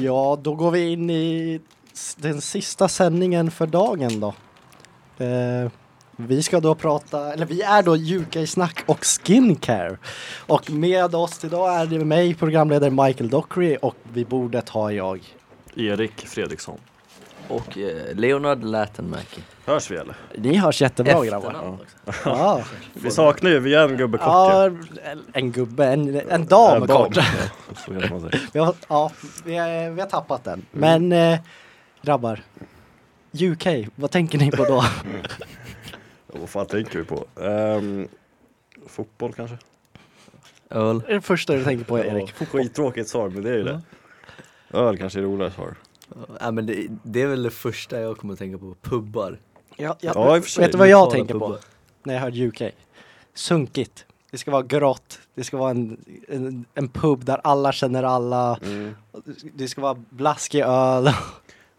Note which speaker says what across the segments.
Speaker 1: Ja, då går vi in i s- den sista sändningen för dagen då. Eh, vi ska då prata, eller vi är då UK-snack och skincare. Och med oss idag är det mig, programledare Michael Dockery och vid bordet har jag.
Speaker 2: Erik Fredriksson.
Speaker 3: Och eh, Leonard Lätenmäki.
Speaker 2: Hörs vi eller?
Speaker 1: Ni hörs jättebra grabbar.
Speaker 3: Efternamn också.
Speaker 1: Ja,
Speaker 2: Vi saknar ju, vi är en gubbe kort
Speaker 1: ja en gubbe, en, en dam
Speaker 2: En
Speaker 1: kort.
Speaker 2: ju. Så kan man säga.
Speaker 1: Vi har, ja, vi, har- vi har tappat den. Men eh, grabbar, UK, vad tänker ni på då?
Speaker 2: Ja, Vad fan tänker vi på? Ehm, fotboll kanske?
Speaker 3: Öl.
Speaker 1: Det är det första du tänker på Erik.
Speaker 2: Ja, skittråkigt svar, men det är ju det. Öl kanske är roligare svar.
Speaker 3: Ja, men det, det är väl det första jag kommer att tänka på, pubbar.
Speaker 1: Ja,
Speaker 2: Ja, i och för sig.
Speaker 1: vet du vad jag
Speaker 3: Lokala
Speaker 1: tänker på
Speaker 3: pubbar.
Speaker 1: när jag hör UK? Sunkigt. Det ska vara grått, det ska vara en, en, en pub där alla känner alla,
Speaker 2: Mm.
Speaker 1: det ska vara blaskig öl.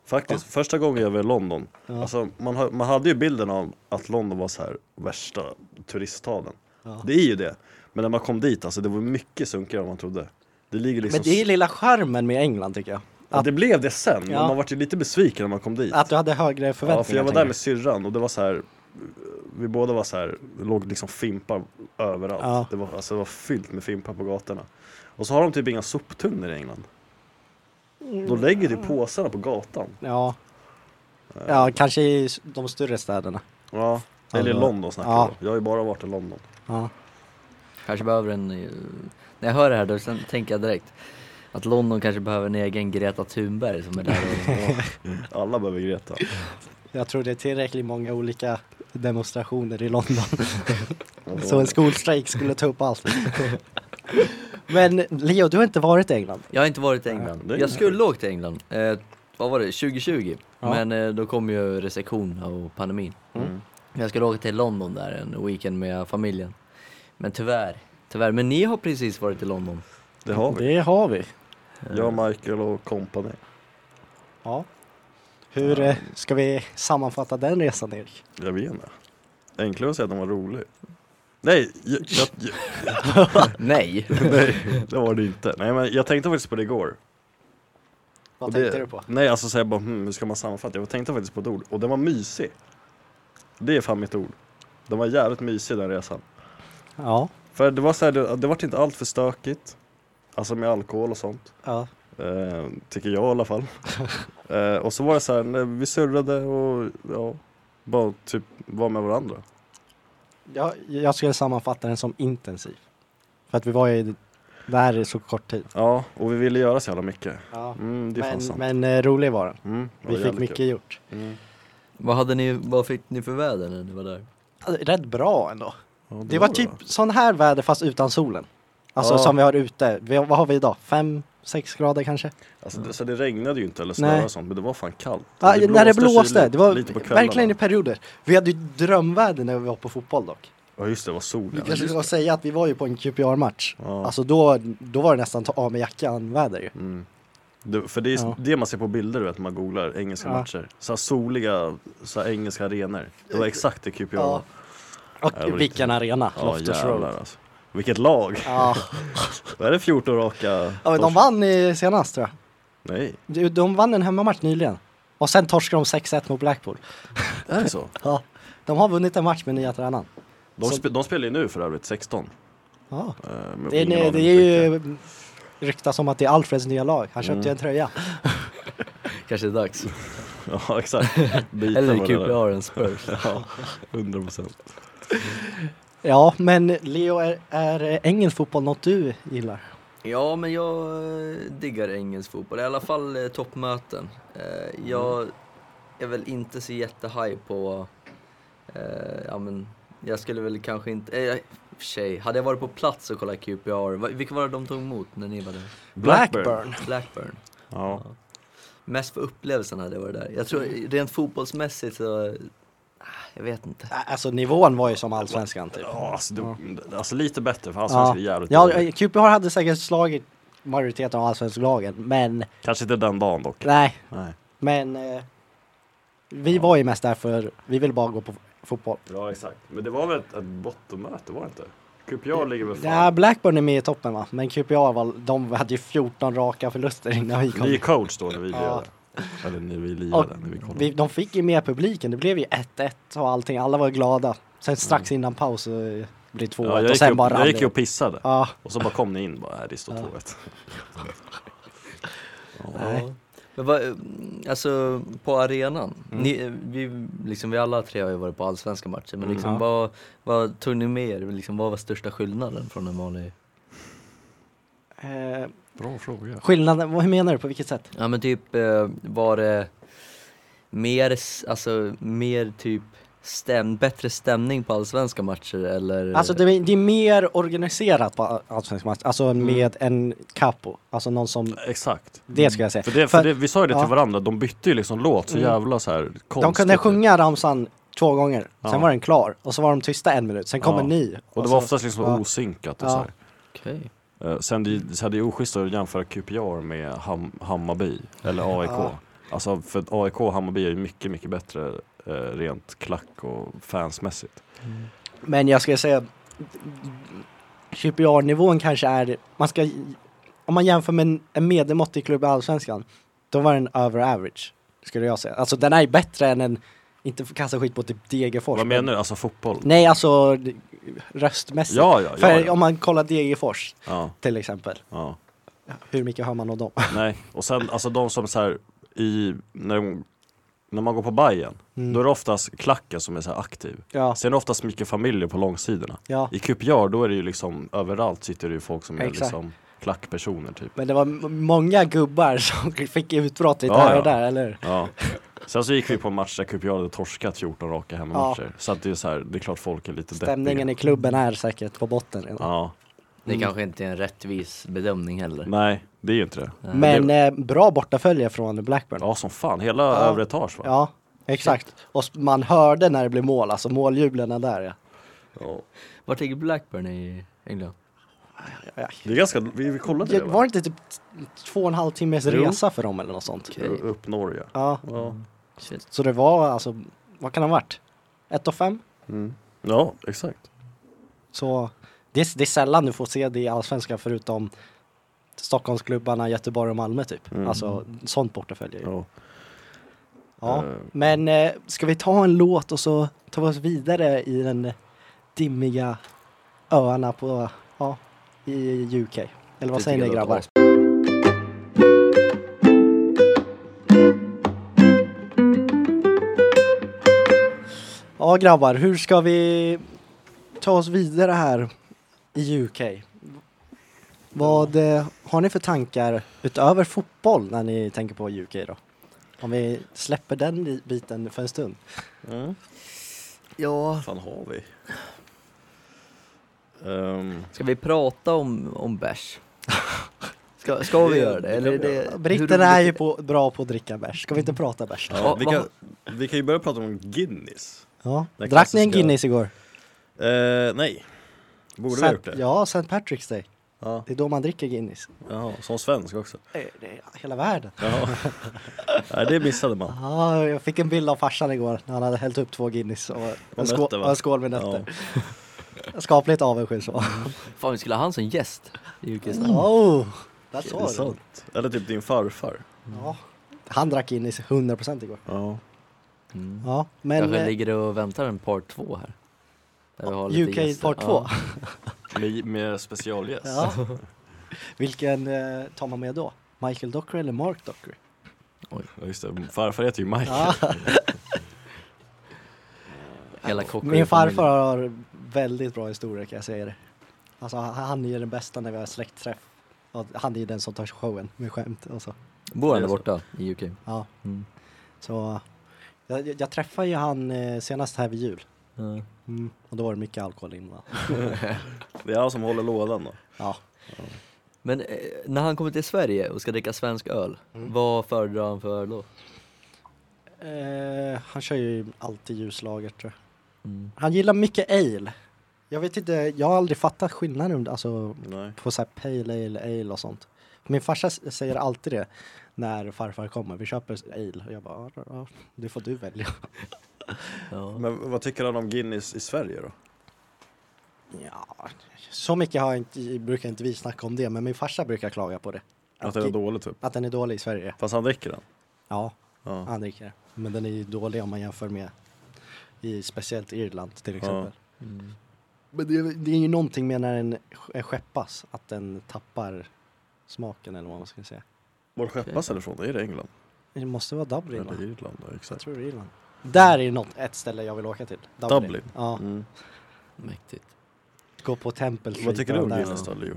Speaker 2: Faktiskt, första gången jag var i London,
Speaker 1: Ja.
Speaker 2: alltså, man, har- man hade ju bilden av att London var så här värsta turiststaden.
Speaker 1: Ja.
Speaker 2: Det är ju det. Men när man kom dit, alltså det var mycket sunkigare än man trodde. Det ligger liksom...
Speaker 1: Men det är lilla charmen med England tycker jag.
Speaker 2: Ja, det blev det sen,
Speaker 1: Ja.
Speaker 2: men man var ju lite besviken när man kom dit.
Speaker 1: Att du hade högre förväntningar.
Speaker 2: Ja, för jag var
Speaker 1: tänker
Speaker 2: där med syrran och det var så här vi båda var så här, det låg liksom fimpar överallt.
Speaker 1: Ja.
Speaker 2: Det, var, alltså, det var fyllt med fimpar på gatorna. Och så har de typ inga soptunnor i England.
Speaker 1: Mm.
Speaker 2: De lägger typ påsarna på gatan.
Speaker 1: Ja. ja, kanske i s- de större städerna.
Speaker 2: Ja.
Speaker 1: Ja,
Speaker 2: Eller i
Speaker 1: det var-
Speaker 2: London snackar
Speaker 1: Ja.
Speaker 2: ja. Jag har ju bara varit i London.
Speaker 1: Ja.
Speaker 3: Kanske behöver en... eh, När jag hör det här då sen tänker jag direkt att London kanske behöver en egen Greta Thunberg som är där och...
Speaker 2: Alla behöver Greta.
Speaker 1: Jag tror det är tillräckligt många olika demonstrationer i London.
Speaker 2: Och då-
Speaker 1: Så en skolstrejk skulle ta upp allt. Men Leo, du har inte varit i England?
Speaker 3: Jag har inte varit i England.
Speaker 2: det är
Speaker 3: Jag
Speaker 2: ju-
Speaker 3: skulle åkt till England. Eh, vad var det? 2020?
Speaker 1: Ja.
Speaker 3: Men eh, då kom ju restriktion av pandemin.
Speaker 2: Mm.
Speaker 3: Jag skulle åka till London där en weekend med familjen. Men tyvärr, tyvärr. Men ni har precis varit i London.
Speaker 2: Det har vi.
Speaker 1: Det har vi.
Speaker 2: Jag, Michael och company.
Speaker 1: Ja. Hur eh, ska vi sammanfatta den resan Erik?
Speaker 2: Jag vet inte. Enklare att säga att den var rolig. Nej, jag, jag, jag,
Speaker 3: Nej!
Speaker 2: nej, det var det inte. Nej, men jag tänkte faktiskt på det igår.
Speaker 1: Vad
Speaker 2: Och
Speaker 1: tänkte
Speaker 2: det,
Speaker 1: du på?
Speaker 2: Nej, alltså så jag bara, hmm, hur ska man sammanfatta? Jag tänkte faktiskt på ett ord, och den var mysig. Det är fan mitt ord. Den var jävligt mysig den resan.
Speaker 1: Ja.
Speaker 2: För det var så här, det, det var inte allt för stökigt. Alltså med alkohol och sånt.
Speaker 1: ja.
Speaker 2: Eh, tycker jag i alla fall. eh, och så var det så här, när vi surrade och ja, bara typ var med varandra.
Speaker 1: Jag, jag skulle sammanfatta den som intensiv. För att vi var ju där i så kort tid.
Speaker 2: Ja, och vi ville göra så jävla mycket.
Speaker 1: Ja.
Speaker 2: Mm, det är fan
Speaker 1: Men,
Speaker 2: sant.
Speaker 1: men eh, rolig var den.
Speaker 2: Mm, det var
Speaker 1: Vi fick
Speaker 2: jävligt
Speaker 1: mycket
Speaker 2: kul.
Speaker 1: gjort.
Speaker 2: Mm.
Speaker 3: vad, hade ni, vad fick ni för väder när ni var där?
Speaker 1: Alltså, Rätt bra ändå.
Speaker 2: Ja,
Speaker 1: Det var typ sån här väder fast utan solen. Alltså
Speaker 2: Ja.
Speaker 1: som vi har ute. Vi, vad har vi idag? Fem, sex grader kanske?
Speaker 2: Alltså, det, så det regnade ju inte eller
Speaker 1: Nej.
Speaker 2: snöade och sånt, men det var fan kallt.
Speaker 1: Ja, när det blåste,
Speaker 2: kyligt,
Speaker 1: det var
Speaker 2: lite på kvällarna.
Speaker 1: verkligen i perioder. Vi hade ju drömväder när vi var på fotboll dock.
Speaker 2: Ja just det, det var
Speaker 1: Vi
Speaker 2: solen.
Speaker 1: kanske ska säga att vi var ju på en QPR-match.
Speaker 2: Ja.
Speaker 1: Alltså då, då var det nästan ta av med jackan-väder ju.
Speaker 2: Mm. Det, för det är
Speaker 1: Ja.
Speaker 2: det man ser på bilder du vet, när man googlar engelska
Speaker 1: Ja.
Speaker 2: matcher. Så här soliga, så här engelska arenor. Det var exakt det QPR
Speaker 1: Ja.
Speaker 2: var.
Speaker 1: Och
Speaker 2: Ja, det var
Speaker 1: vilken arena,
Speaker 2: Ja,
Speaker 1: Loftus
Speaker 2: jävlar,
Speaker 1: Road.
Speaker 2: Alltså. Vilket lag!
Speaker 1: Ja.
Speaker 2: Vad är det 14 raka?
Speaker 1: ja, men de
Speaker 2: torsk-
Speaker 1: vann i senast tror jag.
Speaker 2: Nej,
Speaker 1: De, de vann en hemmamatch nyligen. Och sen torskade de 6-1 mot Blackpool.
Speaker 2: är det så?
Speaker 1: Ja. De har vunnit en match med nya tränaren.
Speaker 2: De,
Speaker 1: Så-
Speaker 2: spe, de spelar ju nu för övrigt, 16.
Speaker 1: Ja.
Speaker 2: Eh, men
Speaker 1: Det, är-
Speaker 2: ingen aning
Speaker 1: det
Speaker 2: hur
Speaker 1: är
Speaker 2: mycket.
Speaker 1: ju ryktas om att det är Alfreds nya lag. Han köpte ju
Speaker 2: Mm.
Speaker 1: en tröja.
Speaker 3: Kanske det är dags.
Speaker 2: Ja, exakt. Byta
Speaker 3: Eller
Speaker 2: varandra.
Speaker 3: QPR än Spurs.
Speaker 2: Ja, 100 procent.
Speaker 1: Ja, men Leo, är, är engelsk fotboll något du gillar?
Speaker 3: Ja, men jag eh, diggar engelsk fotboll, i alla fall eh, toppmöten. Eh, jag är väl inte så jättehaj på... Eh, ja, men jag skulle väl kanske inte... Eh, jag- i och för sig, hade jag varit på plats och kollat QPR, va- vilka var det de tog emot när ni var där? Blackburn.
Speaker 2: Ja.
Speaker 3: Mest för upplevelsen hade jag varit där. Jag tror rent fotbollsmässigt så... ah, Jag vet inte.
Speaker 1: Ä- Alltså nivån var ju som allsvenskan typ.
Speaker 2: Ja, alltså, det, alltså lite bättre för
Speaker 1: Ja,
Speaker 2: allsvenskan är jävligt
Speaker 1: ja eh,
Speaker 2: dålig.
Speaker 1: QPR hade säkert slagit majoriteten av allsvenska lagen, men
Speaker 2: Kanske inte den dagen dock.
Speaker 1: nej,
Speaker 2: Nej.
Speaker 1: men eh, vi var ju mest där för vi vill bara gå på f- fotboll.
Speaker 2: Ja exakt, men det var väl ett, ett bottenmöte var det inte? QPR ligger väl fan?
Speaker 1: Ja, Blackburn är med i toppen va? Men QPR var, de hade ju 14 raka förluster innan vi kom.
Speaker 2: Ni är coach då när vi
Speaker 1: Ja.
Speaker 2: lirade. Eller när vi
Speaker 1: Och
Speaker 2: lirade, när vi kollade.
Speaker 1: vi, de fick ju med publiken, det blev ju 1-1 och allting, alla var glada. Sen strax innan paus så eh, blev det 2-1
Speaker 2: Mm. ja, jag,
Speaker 1: och
Speaker 2: gick
Speaker 1: sen
Speaker 2: upp,
Speaker 1: bara rann
Speaker 2: jag gick
Speaker 1: det.
Speaker 2: ju och pissade.
Speaker 1: Ja,
Speaker 2: Och så bara kom ni in bara, här det står
Speaker 1: Ja.
Speaker 2: 2-1.
Speaker 1: Nej.
Speaker 3: Ja. Men vad, eh, alltså på arenan, ni, eh, vi, liksom, vi alla tre har ju varit på allsvenska matcher, men
Speaker 2: Mm,
Speaker 3: liksom,
Speaker 1: ja.
Speaker 3: vad, vad tog ni med er? Liksom, vad var största skillnaden från en vanlig?
Speaker 1: eh,
Speaker 2: Bra fråga.
Speaker 1: skillnaden, vad- hur menar du, på vilket sätt?
Speaker 3: Ja men typ, eh, var det mer, s- alltså, mer typ stäm, bättre stämning på allsvenska matcher eller?
Speaker 1: Alltså det, är- det är mer organiserat på allsvensk match, alltså
Speaker 2: Mm.
Speaker 1: med en capo, alltså någon som,
Speaker 2: Exakt.
Speaker 1: det ska jag säga.
Speaker 2: För, det, för,
Speaker 1: För
Speaker 2: det, vi sa ju det till
Speaker 1: ja.
Speaker 2: varandra, de bytte ju liksom låt så
Speaker 1: Mm.
Speaker 2: jävla så här konstigt.
Speaker 1: de kunde sjunga ramsan två gånger,
Speaker 2: Ja.
Speaker 1: sen var den klar och så var de tysta en minut, sen kom
Speaker 2: Ja.
Speaker 1: en ny. Alltså,
Speaker 2: Och det
Speaker 1: så-
Speaker 2: var oftast liksom
Speaker 1: ja.
Speaker 2: osynkat och
Speaker 1: Ja.
Speaker 2: så här.
Speaker 3: Okej.
Speaker 2: Eh, Sen det, sen det är oschysst att jämföra QPR med Ham, Hammarby eller AIK.
Speaker 1: Ja.
Speaker 2: Alltså för att AIK och Hammarby är ju mycket, mycket bättre eh, rent klack och fansmässigt.
Speaker 3: Mm.
Speaker 1: Men jag skulle säga QPR-nivån kanske är, man ska, om man jämför med en- en medelmåttig klubb i Allsvenskan, då var den över average, skulle jag säga. Alltså den är bättre än en, inte kasta skit på typ Degerfors.
Speaker 2: Vad
Speaker 1: men-
Speaker 2: menar du? Alltså fotboll?
Speaker 1: Nej, alltså d- röstmässigt.
Speaker 2: Ja, ja, ja.
Speaker 1: För
Speaker 2: ja.
Speaker 1: om man kollar Degerfors
Speaker 2: ja,
Speaker 1: till exempel,
Speaker 2: ja.
Speaker 1: hur mycket hör man om dem?
Speaker 2: Nej, och sen alltså de som så här i, när, de- när man går på Bajen,
Speaker 1: Mm.
Speaker 2: då är det oftast klacken som är så här aktiv.
Speaker 1: Ja,
Speaker 2: Sen är det oftast mycket familjer på långsidorna.
Speaker 1: ja.
Speaker 2: I QPR då är det ju liksom överallt sitter det ju folk som är
Speaker 1: Exakt.
Speaker 2: liksom klackpersoner typ.
Speaker 1: Men det var m- många gubbar som fick utbrott lite
Speaker 2: Ja,
Speaker 1: här
Speaker 2: ja.
Speaker 1: och där, eller hur?
Speaker 2: Ja. Sen så gick vi på en match där QPR hade torskat 14 raka hemmamatcher. Så att det är så här, det är klart folk är lite
Speaker 1: Stämningen
Speaker 2: deppiga.
Speaker 1: i klubben är säkert på botten redan.
Speaker 2: Ja,
Speaker 3: Det kanske inte är en rättvis bedömning heller.
Speaker 2: nej det är ju inte det.
Speaker 1: Men eh, bra bortafölje från Blackburn. Ja,
Speaker 2: Ja som fan, hela
Speaker 1: Ja.
Speaker 2: övre etage va?
Speaker 1: exakt. Och s- man hörde när det blev mål, alltså måljublerna där. Ja.
Speaker 2: Ja.
Speaker 3: Vart ligger Blackburn i England?
Speaker 2: Det är ganska, vi, vi kollade
Speaker 1: Det
Speaker 2: det
Speaker 1: var det inte typ t- två och en halv timmes
Speaker 2: Jo.
Speaker 1: resa för dem eller något sånt?
Speaker 3: Okej.
Speaker 2: Upp Norge.
Speaker 1: Ja,
Speaker 2: Ja.
Speaker 3: Shit.
Speaker 1: så det var alltså, vad kan det ha varit? Ett och fem?
Speaker 2: ja, Mm. exakt.
Speaker 1: Så det, är- det är sällan du får se det i Allsvenskan förutom Stockholmsklubbarna, Göteborg och Malmö typ.
Speaker 2: Mm.
Speaker 1: Alltså sånt bortafölje. Ja.
Speaker 2: Ja. Eh.
Speaker 1: Men eh, ska vi ta en låt och så ta oss vidare i den dimmiga öarna på, ja, i UK? Eller vad
Speaker 3: Det
Speaker 1: säger
Speaker 3: tycker
Speaker 1: ni
Speaker 3: jag
Speaker 1: grabbar?
Speaker 3: låter
Speaker 1: Ja grabbar, hur ska vi ta oss vidare här i UK? Vad eh, har ni för tankar utöver fotboll när ni tänker på UK då? Om vi släpper den i- biten för en stund.
Speaker 2: Mm.
Speaker 3: Ja,
Speaker 2: fan har vi? Ehm,
Speaker 3: Ska vi prata om, om bärs? Ska, ska vi göra det? Eller är det hur
Speaker 1: Britterna är
Speaker 3: roligt-
Speaker 1: ju på, bra på att dricka bärs, ska vi inte prata bärs? då?
Speaker 2: ja,
Speaker 3: Vad-
Speaker 2: vi, kan, vi kan ju börja prata om Guinness.
Speaker 1: Ja.
Speaker 2: Den
Speaker 1: Drack ni en
Speaker 2: klassiska-
Speaker 1: Guinness igår?
Speaker 2: Eh, nej. Borde vi ha
Speaker 1: Sant-
Speaker 2: gjort det?
Speaker 1: Ja, St. Patrick's Day.
Speaker 2: Ja.
Speaker 1: Det är då man dricker Guinness.
Speaker 2: Jaha, som svensk också.
Speaker 1: Eh, Det är hela världen.
Speaker 2: Jaha. nej, det missade man.
Speaker 1: Ja, jag fick en bild av farsan igår när han hade hällt upp två Guinness och en, skå-
Speaker 2: nötter, va?
Speaker 1: och en skål med nötter. Skapligt avundsjuk så.
Speaker 2: Mm.
Speaker 3: Fan vi skulle ha han som gäst i Yrkesnack.
Speaker 1: Oh, där
Speaker 2: Ja, det är
Speaker 1: sa du.
Speaker 2: sant. Eller typ din farfar.
Speaker 1: Ja. Han drack Guinness 100% igår.
Speaker 2: Ja.
Speaker 3: Mm.
Speaker 1: Ja, men
Speaker 3: Kanske
Speaker 1: eh,
Speaker 3: ligger och väntar en part två här. Där vi har lite
Speaker 1: UK
Speaker 3: gäster.
Speaker 1: part 2,
Speaker 3: Ja.
Speaker 2: Med, med specialgäst.
Speaker 1: Ja. vilken eh, tar man med då? Michael Dockery eller Mark Dockery?
Speaker 2: Ja, Just det, farfar heter ju Michael.
Speaker 1: Ja,
Speaker 3: Hela kocken i
Speaker 1: min
Speaker 3: familjen.
Speaker 1: farfar har väldigt bra historia kan jag säga det. Alltså han- han är ju den bästa när vi har släktträff. Och Han är ju den som tar showen med skämt och så.
Speaker 3: Bor han där borta i UK?
Speaker 1: Ja,
Speaker 3: Mm.
Speaker 1: så jag, jag träffade ju han eh, senast här vid jul.
Speaker 3: Ja.
Speaker 1: Mm. Och då var det mycket alkohol innan.
Speaker 2: Det är han som håller lådan då.
Speaker 1: Ja.
Speaker 3: Men eh, när han kommer till Sverige och ska dricka svensk öl, vad föredrar han för öl då?
Speaker 1: Eh, han kör ju alltid ljuslager tror jag.
Speaker 3: Mm.
Speaker 1: Han gillar mycket ale. Jag vet inte, jag har aldrig fattat skillnaden alltså,
Speaker 2: Nej.
Speaker 1: på så här pale ale, ale och sånt. Min farsa s- säger alltid det när farfar kommer. Vi köper ale och jag bara, ja, ja, det får du välja.
Speaker 3: Ja.
Speaker 2: Men vad tycker han om Guinness i Sverige då?
Speaker 1: Ja, så mycket har jag inte, brukar inte vi snacka om det, men min farsa brukar klaga på det.
Speaker 2: Att den är dålig typ.
Speaker 1: Att den är dålig i Sverige.
Speaker 2: Fast han dricker den.
Speaker 1: Ja,
Speaker 2: Ja.
Speaker 1: han dricker det. Men den är ju dålig om man jämför med i speciellt Irland till exempel. Men det, är- det är ju någonting med när den sk- skeppas, att den tappar smaken eller vad man ska säga.
Speaker 2: Var skeppas den ifrån? Är det England?
Speaker 1: Det måste vara Dublin va?
Speaker 2: Eller Irland? Ja,
Speaker 1: Jag
Speaker 2: exakt.
Speaker 1: tror det är Irland. Mm. Där är något, ett ställe jag vill åka till.
Speaker 2: Dublin.
Speaker 1: Ja,
Speaker 2: Mm.
Speaker 3: Mäktigt.
Speaker 1: gå på Temple
Speaker 2: Vad
Speaker 1: Street
Speaker 2: tycker du
Speaker 1: och
Speaker 2: om
Speaker 1: där.
Speaker 2: Guinness då, Leo?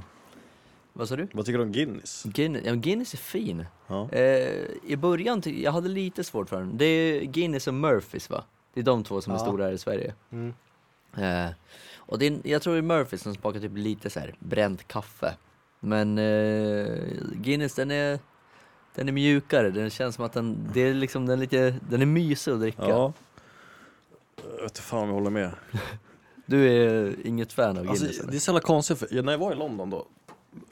Speaker 3: Vad sa du?
Speaker 2: Vad tycker du om Guinness?
Speaker 3: Guinness, ja, Guinness är fin.
Speaker 2: Ja.
Speaker 3: Eh, I början ty- jag hade lite svårt för den. Det är Guinness och Murphys va? Det är de två som är
Speaker 1: Ja.
Speaker 3: stora här i Sverige.
Speaker 1: Mm.
Speaker 3: Eh, och det är, jag tror det är Murphys som smakar typ lite så här bränt kaffe. Men eh, Guinness den är, den är mjukare, den känns som att den, det är liksom, den, är lite, den är mysig att dricka.
Speaker 2: ja. Jag vet fan om jag håller med.
Speaker 3: Du är inget fan av Guinness?
Speaker 2: Alltså,
Speaker 3: eller?
Speaker 2: det är så jävla konstigt, för när jag var i London då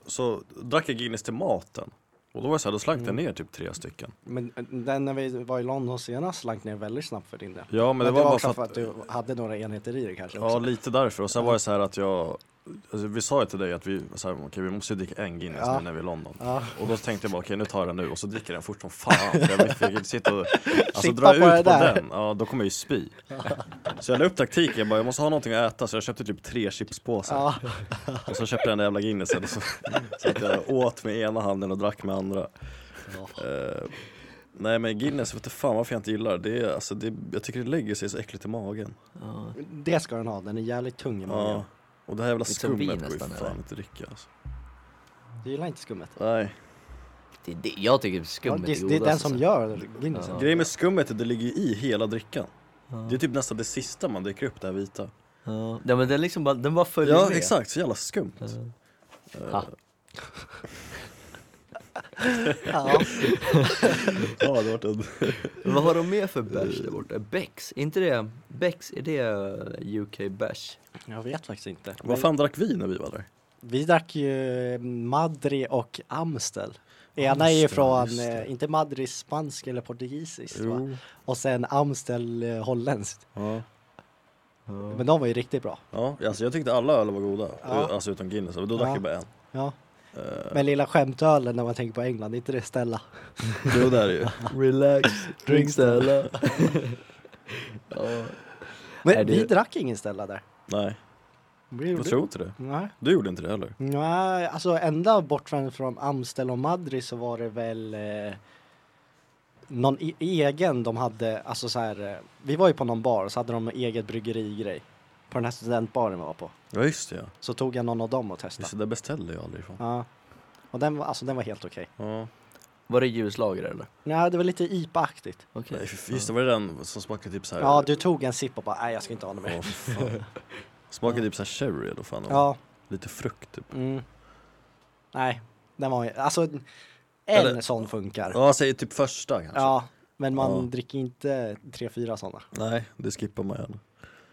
Speaker 2: så drack jag Guinness till maten. Och då var jag så här, då slank jag ner typ tre stycken.
Speaker 1: Men eh, den när vi var i London senast slank ner väldigt snabbt för din del.
Speaker 2: Ja men det var, bara
Speaker 1: också
Speaker 2: för att,
Speaker 1: du hade några enheter i dig kanske
Speaker 2: liksom. ja
Speaker 1: också.
Speaker 2: lite därför. Och sen var det så här att jag, alltså, vi sa ju till dig att vi, så här, okej, vi måste ju dricka en Guinness
Speaker 1: Ja.
Speaker 2: nu när vi är i London.
Speaker 1: Ja.
Speaker 2: Och då tänkte jag bara okej nu tar jag den nu och så dricker jag den fort som fan. För jag fick inte sitta och, alltså
Speaker 1: Sippa
Speaker 2: dra
Speaker 1: på
Speaker 2: ut
Speaker 1: det
Speaker 2: på
Speaker 1: där.
Speaker 2: den, ja då kommer jag ju spy. Så jag la upp taktiken, jag bara jag måste ha någonting att äta så jag köpte typ tre chipspåsar.
Speaker 1: Ja,
Speaker 2: Och så köpte jag den där jävla Guinnessen och så, så att jag åt med ena handen och drack med andra. Eh, nej men Guinness vet du fan varför jag inte gillar det. det. Är, alltså, det jag tycker det lägger sig så äckligt i magen.
Speaker 3: Ja.
Speaker 1: det ska den ha, den är jävligt tung i magen.
Speaker 2: Ja. Och det här jävla
Speaker 3: Lite som vin
Speaker 2: skummet går ju
Speaker 3: nästan,
Speaker 2: fan
Speaker 3: eller?
Speaker 2: inte att dricka alltså.
Speaker 1: Du gillar inte skummet?
Speaker 2: Nej.
Speaker 3: Det, det, jag tycker
Speaker 1: Ja,
Speaker 3: skummet
Speaker 1: det,
Speaker 3: är
Speaker 1: det är den
Speaker 3: godast,
Speaker 1: som
Speaker 3: alltså.
Speaker 1: gör Guinnessen.
Speaker 3: Ja.
Speaker 2: Grejen med skummet är att det ligger ju i hela drickan.
Speaker 3: Ja.
Speaker 2: Det är typ nästan det sista man dricker upp, det här vita.
Speaker 3: Ja. ja men den liksom bara, den bara följer
Speaker 2: Ja
Speaker 3: med.
Speaker 2: exakt, så jävla skumt. Eh,
Speaker 3: Ha.
Speaker 1: Ja.
Speaker 2: Ja, det vart en...
Speaker 3: Vad har de mer för bärs där borta? Becks, är inte det, Becks, är det UK bärs?
Speaker 1: Jag vet faktiskt inte.
Speaker 2: Vad fan drack vi när vi var där?
Speaker 1: Vi drack ju Madri och Amstel. Ena är ju
Speaker 2: Amstel,
Speaker 1: från,
Speaker 2: just det.
Speaker 1: eh, inte Madri spansk eller portugisisk va? Och sen Amstel eh, holländskt.
Speaker 2: Ja.
Speaker 1: Men de var ju riktigt bra.
Speaker 2: ja, alltså jag tyckte alla öl var goda.
Speaker 1: Ja.
Speaker 2: Alltså utom Guinness, och då drack
Speaker 1: Ja.
Speaker 2: jag bara en.
Speaker 1: Ja.
Speaker 2: Eh,
Speaker 1: Men lilla skämtölen när man tänker på England, inte det Stella?
Speaker 2: Jo det är det ju.
Speaker 3: Relax, drink Stella. ja.
Speaker 1: Men
Speaker 3: Nej, det-
Speaker 1: vi drack ingen Stella där.
Speaker 2: Nej,
Speaker 1: Vi
Speaker 2: jag tror inte det.
Speaker 1: Nej.
Speaker 2: Du gjorde inte det heller.
Speaker 1: Nej, alltså ända bort från, från Amstel och Madrid så var det väl eh, någon e- egen de hade, alltså så här, eh, vi var ju på någon bar och så hade de en eget bryggerigrej på den här studentbaren vi var på.
Speaker 2: Ja just det ja.
Speaker 1: Så tog jag någon av dem och
Speaker 2: Just
Speaker 1: testade.
Speaker 2: det, där beställde jag aldrig ifrån.
Speaker 1: Ja. Och den var, alltså den var helt okej.
Speaker 2: Ja.
Speaker 3: Var det ljuslager eller?
Speaker 1: Nej, det var lite IPA-aktigt.
Speaker 3: Okej.
Speaker 2: Nej, för- Just det, var det den som smakade typ såhär?
Speaker 1: Ja, du tog en sipp och bara, nej jag ska inte ha något mer.
Speaker 2: Smakade typ såhär cherry eller fan. Ja.
Speaker 1: Ja,
Speaker 2: Lite frukt typ.
Speaker 1: mm. Nej, den var alltså en
Speaker 2: Eller-
Speaker 1: sån funkar.
Speaker 2: Ja, säg typ första kanske.
Speaker 1: Ja, men man
Speaker 2: Ja.
Speaker 1: dricker inte tre, fyra sådana.
Speaker 2: Nej, det skippar man gärna.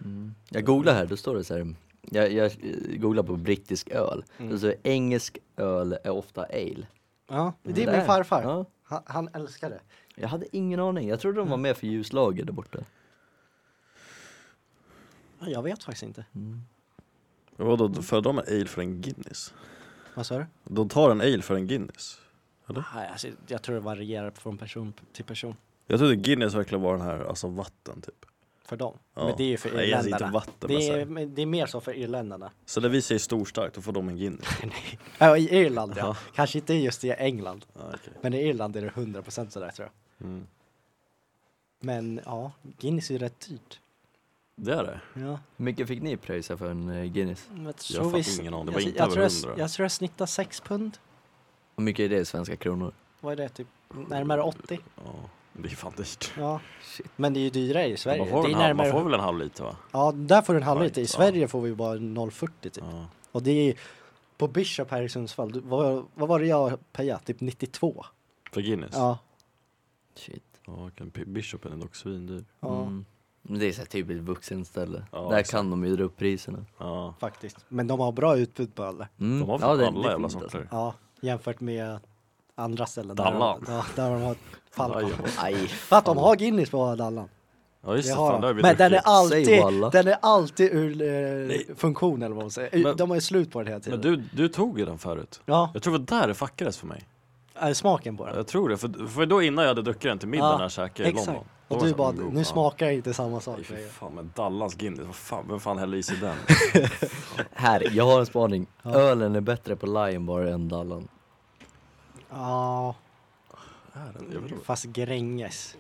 Speaker 3: Mm. Jag googlar här, då står det så här. Jag, jag eh, googlar på brittisk öl.
Speaker 2: Mm.
Speaker 3: Då står det engelsk öl är ofta ale.
Speaker 1: Ja, det är
Speaker 2: Mm,
Speaker 3: Där.
Speaker 1: min farfar.
Speaker 3: Ja.
Speaker 1: Han, han älskar det.
Speaker 3: Jag hade ingen aning. Jag trodde de var med för ljuslager där borta.
Speaker 1: Ja, Jag vet faktiskt inte.
Speaker 3: Mm.
Speaker 2: Vadå, föredrar man ale för en Guinness?
Speaker 1: Vad sa du?
Speaker 2: De tar en ale för en Guinness. Eller?
Speaker 1: Nej, alltså, jag tror det varierar från person till person.
Speaker 2: Jag trodde Guinness verkligen var den här, alltså vatten typ.
Speaker 1: För dem.
Speaker 2: Ja.
Speaker 1: Men det är ju för
Speaker 2: Nej, alltså
Speaker 1: irländarna.
Speaker 2: inte vatten, men
Speaker 1: det,
Speaker 2: så
Speaker 1: är,
Speaker 2: här.
Speaker 1: men det är mer så för irländarna.
Speaker 2: Så när vi säger storstarkt, då får de en Guinness.
Speaker 1: Nej. Ja, I Irland ja. Kanske inte just i England.
Speaker 2: Ja, okej.
Speaker 1: Men i Irland är det 100% sådär tror jag.
Speaker 2: Mm.
Speaker 1: Men ja, Guinness är ju rätt dyrt.
Speaker 2: Det är det?
Speaker 1: Ja.
Speaker 3: Hur mycket fick ni pröjsa för en eh, Guinness?
Speaker 1: Jag,
Speaker 2: Jag fattar ingen aning. Det var
Speaker 1: jag,
Speaker 2: inte
Speaker 1: jag,
Speaker 2: över
Speaker 1: tror jag,
Speaker 2: 100.
Speaker 1: jag tror jag snittar 6 pund.
Speaker 3: Hur mycket är det i svenska kronor?
Speaker 1: Vad är det? Typ
Speaker 2: Mm.
Speaker 1: närmare 80?
Speaker 2: Ja, det är fan dyrt.
Speaker 1: Ja.
Speaker 3: Shit.
Speaker 1: Men det är ju dyrare i Sverige.
Speaker 2: Man får,
Speaker 1: det är
Speaker 2: en halv, man får väl en halv liter va?
Speaker 1: Ja, där får du en halvliter. I
Speaker 2: Pint, ja.
Speaker 1: Sverige får vi ju bara 0,40 typ.
Speaker 2: Ja.
Speaker 1: Och det är på Bishop här i Sundsvall. Du, vad, vad var det jag pejade? Typ 92?
Speaker 2: För Guinness?
Speaker 1: Ja.
Speaker 3: Shit.
Speaker 2: Ja, kan- P- Bishopen är dock svindyr.
Speaker 1: Ja,
Speaker 3: Mm. Men det är så här typiskt vuxenställe.
Speaker 2: Ja,
Speaker 3: Där
Speaker 2: exakt.
Speaker 3: kan de ju dra upp priserna.
Speaker 1: Mm.
Speaker 2: Ja.
Speaker 1: faktiskt. Men de har bra utbud på öl där.
Speaker 3: Mm.
Speaker 2: De har
Speaker 3: Ja,
Speaker 2: fan
Speaker 3: det- det
Speaker 2: alla
Speaker 3: är
Speaker 2: jävla
Speaker 3: fint, alltså.
Speaker 2: sorter.
Speaker 1: Ja, jämfört med andra ställen.
Speaker 2: Dallan.
Speaker 1: Där, de- ja, där de har
Speaker 2: Aj,
Speaker 1: Falcon.
Speaker 2: vad-
Speaker 3: Aj.
Speaker 1: För att de har Guinness på Dallan.
Speaker 2: Ja just
Speaker 1: Det
Speaker 2: det,
Speaker 1: har
Speaker 2: fan, det har
Speaker 1: de.
Speaker 2: vi
Speaker 1: Men den är
Speaker 2: druckit.
Speaker 1: alltid,
Speaker 3: Säg walla.
Speaker 1: den är alltid ur
Speaker 4: Nej.
Speaker 1: eh, funktion eller vad man säger.
Speaker 2: Men-
Speaker 1: de har ju slut på det hela tiden.
Speaker 2: Men du, du tog ju den förut.
Speaker 1: ja,
Speaker 2: Jag tror det var där det fuckades för mig.
Speaker 1: är smaken på den.
Speaker 2: Jag tror det, för, för då innan jag hade druckit den till middagen
Speaker 1: Ja,
Speaker 2: när jag käkade i
Speaker 1: exakt.
Speaker 2: London. Då
Speaker 1: Och
Speaker 2: var
Speaker 1: du
Speaker 2: jag
Speaker 1: bara,
Speaker 2: så här,
Speaker 1: nu
Speaker 2: "Oh, fan."
Speaker 1: smakar det inte samma sak.
Speaker 2: Nej, fy
Speaker 1: längre.
Speaker 2: fan, men Dallans Guinness, vad fan, vem fan häller i sig den?
Speaker 3: Här, jag har en spaning.
Speaker 1: Ja.
Speaker 3: Ölen är bättre på Lion Bar än Dallan.
Speaker 1: Ja,
Speaker 2: Är den- jag vet inte.
Speaker 1: fast Gränges.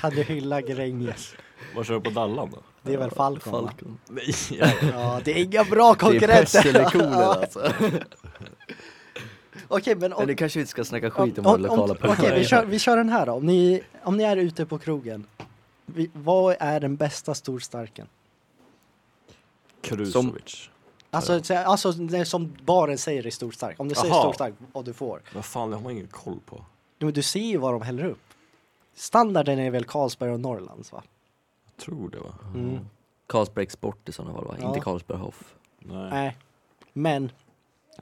Speaker 1: kan du hylla Gränges?
Speaker 2: Vad kör du på Dallan då?
Speaker 1: Det är väl Falcon? va?
Speaker 3: Falcon.
Speaker 2: Nej,
Speaker 1: Ja, det är inga bra konkurrenter.
Speaker 3: Det är persilikonen
Speaker 1: Ja,
Speaker 3: alltså.
Speaker 1: Okej, men
Speaker 3: Men
Speaker 1: om,
Speaker 3: nu kanske vi inte ska snacka skit om
Speaker 1: om-
Speaker 3: våra lokala
Speaker 1: om- Okej, vi
Speaker 3: pubar.
Speaker 1: kör, vi kör den här då. Om ni, om ni är ute på krogen, vi, vad är den bästa storstarken?
Speaker 2: Krusovic.
Speaker 1: Alltså, så- alltså det är som baren säger i storstark. Om du säger
Speaker 2: Aha.
Speaker 1: storstark, vad du får.
Speaker 2: Vad fan, det har man ingen koll på.
Speaker 1: Jo, men du ser ju vad de häller upp. Standarden är väl Carlsberg och Norrlands va?
Speaker 2: Jag tror det va?
Speaker 1: Mm.
Speaker 3: Carlsberg Export i sådana fall va?
Speaker 1: Ja.
Speaker 3: Inte Carlsberg Hoff.
Speaker 2: Nej.
Speaker 1: Nej. Men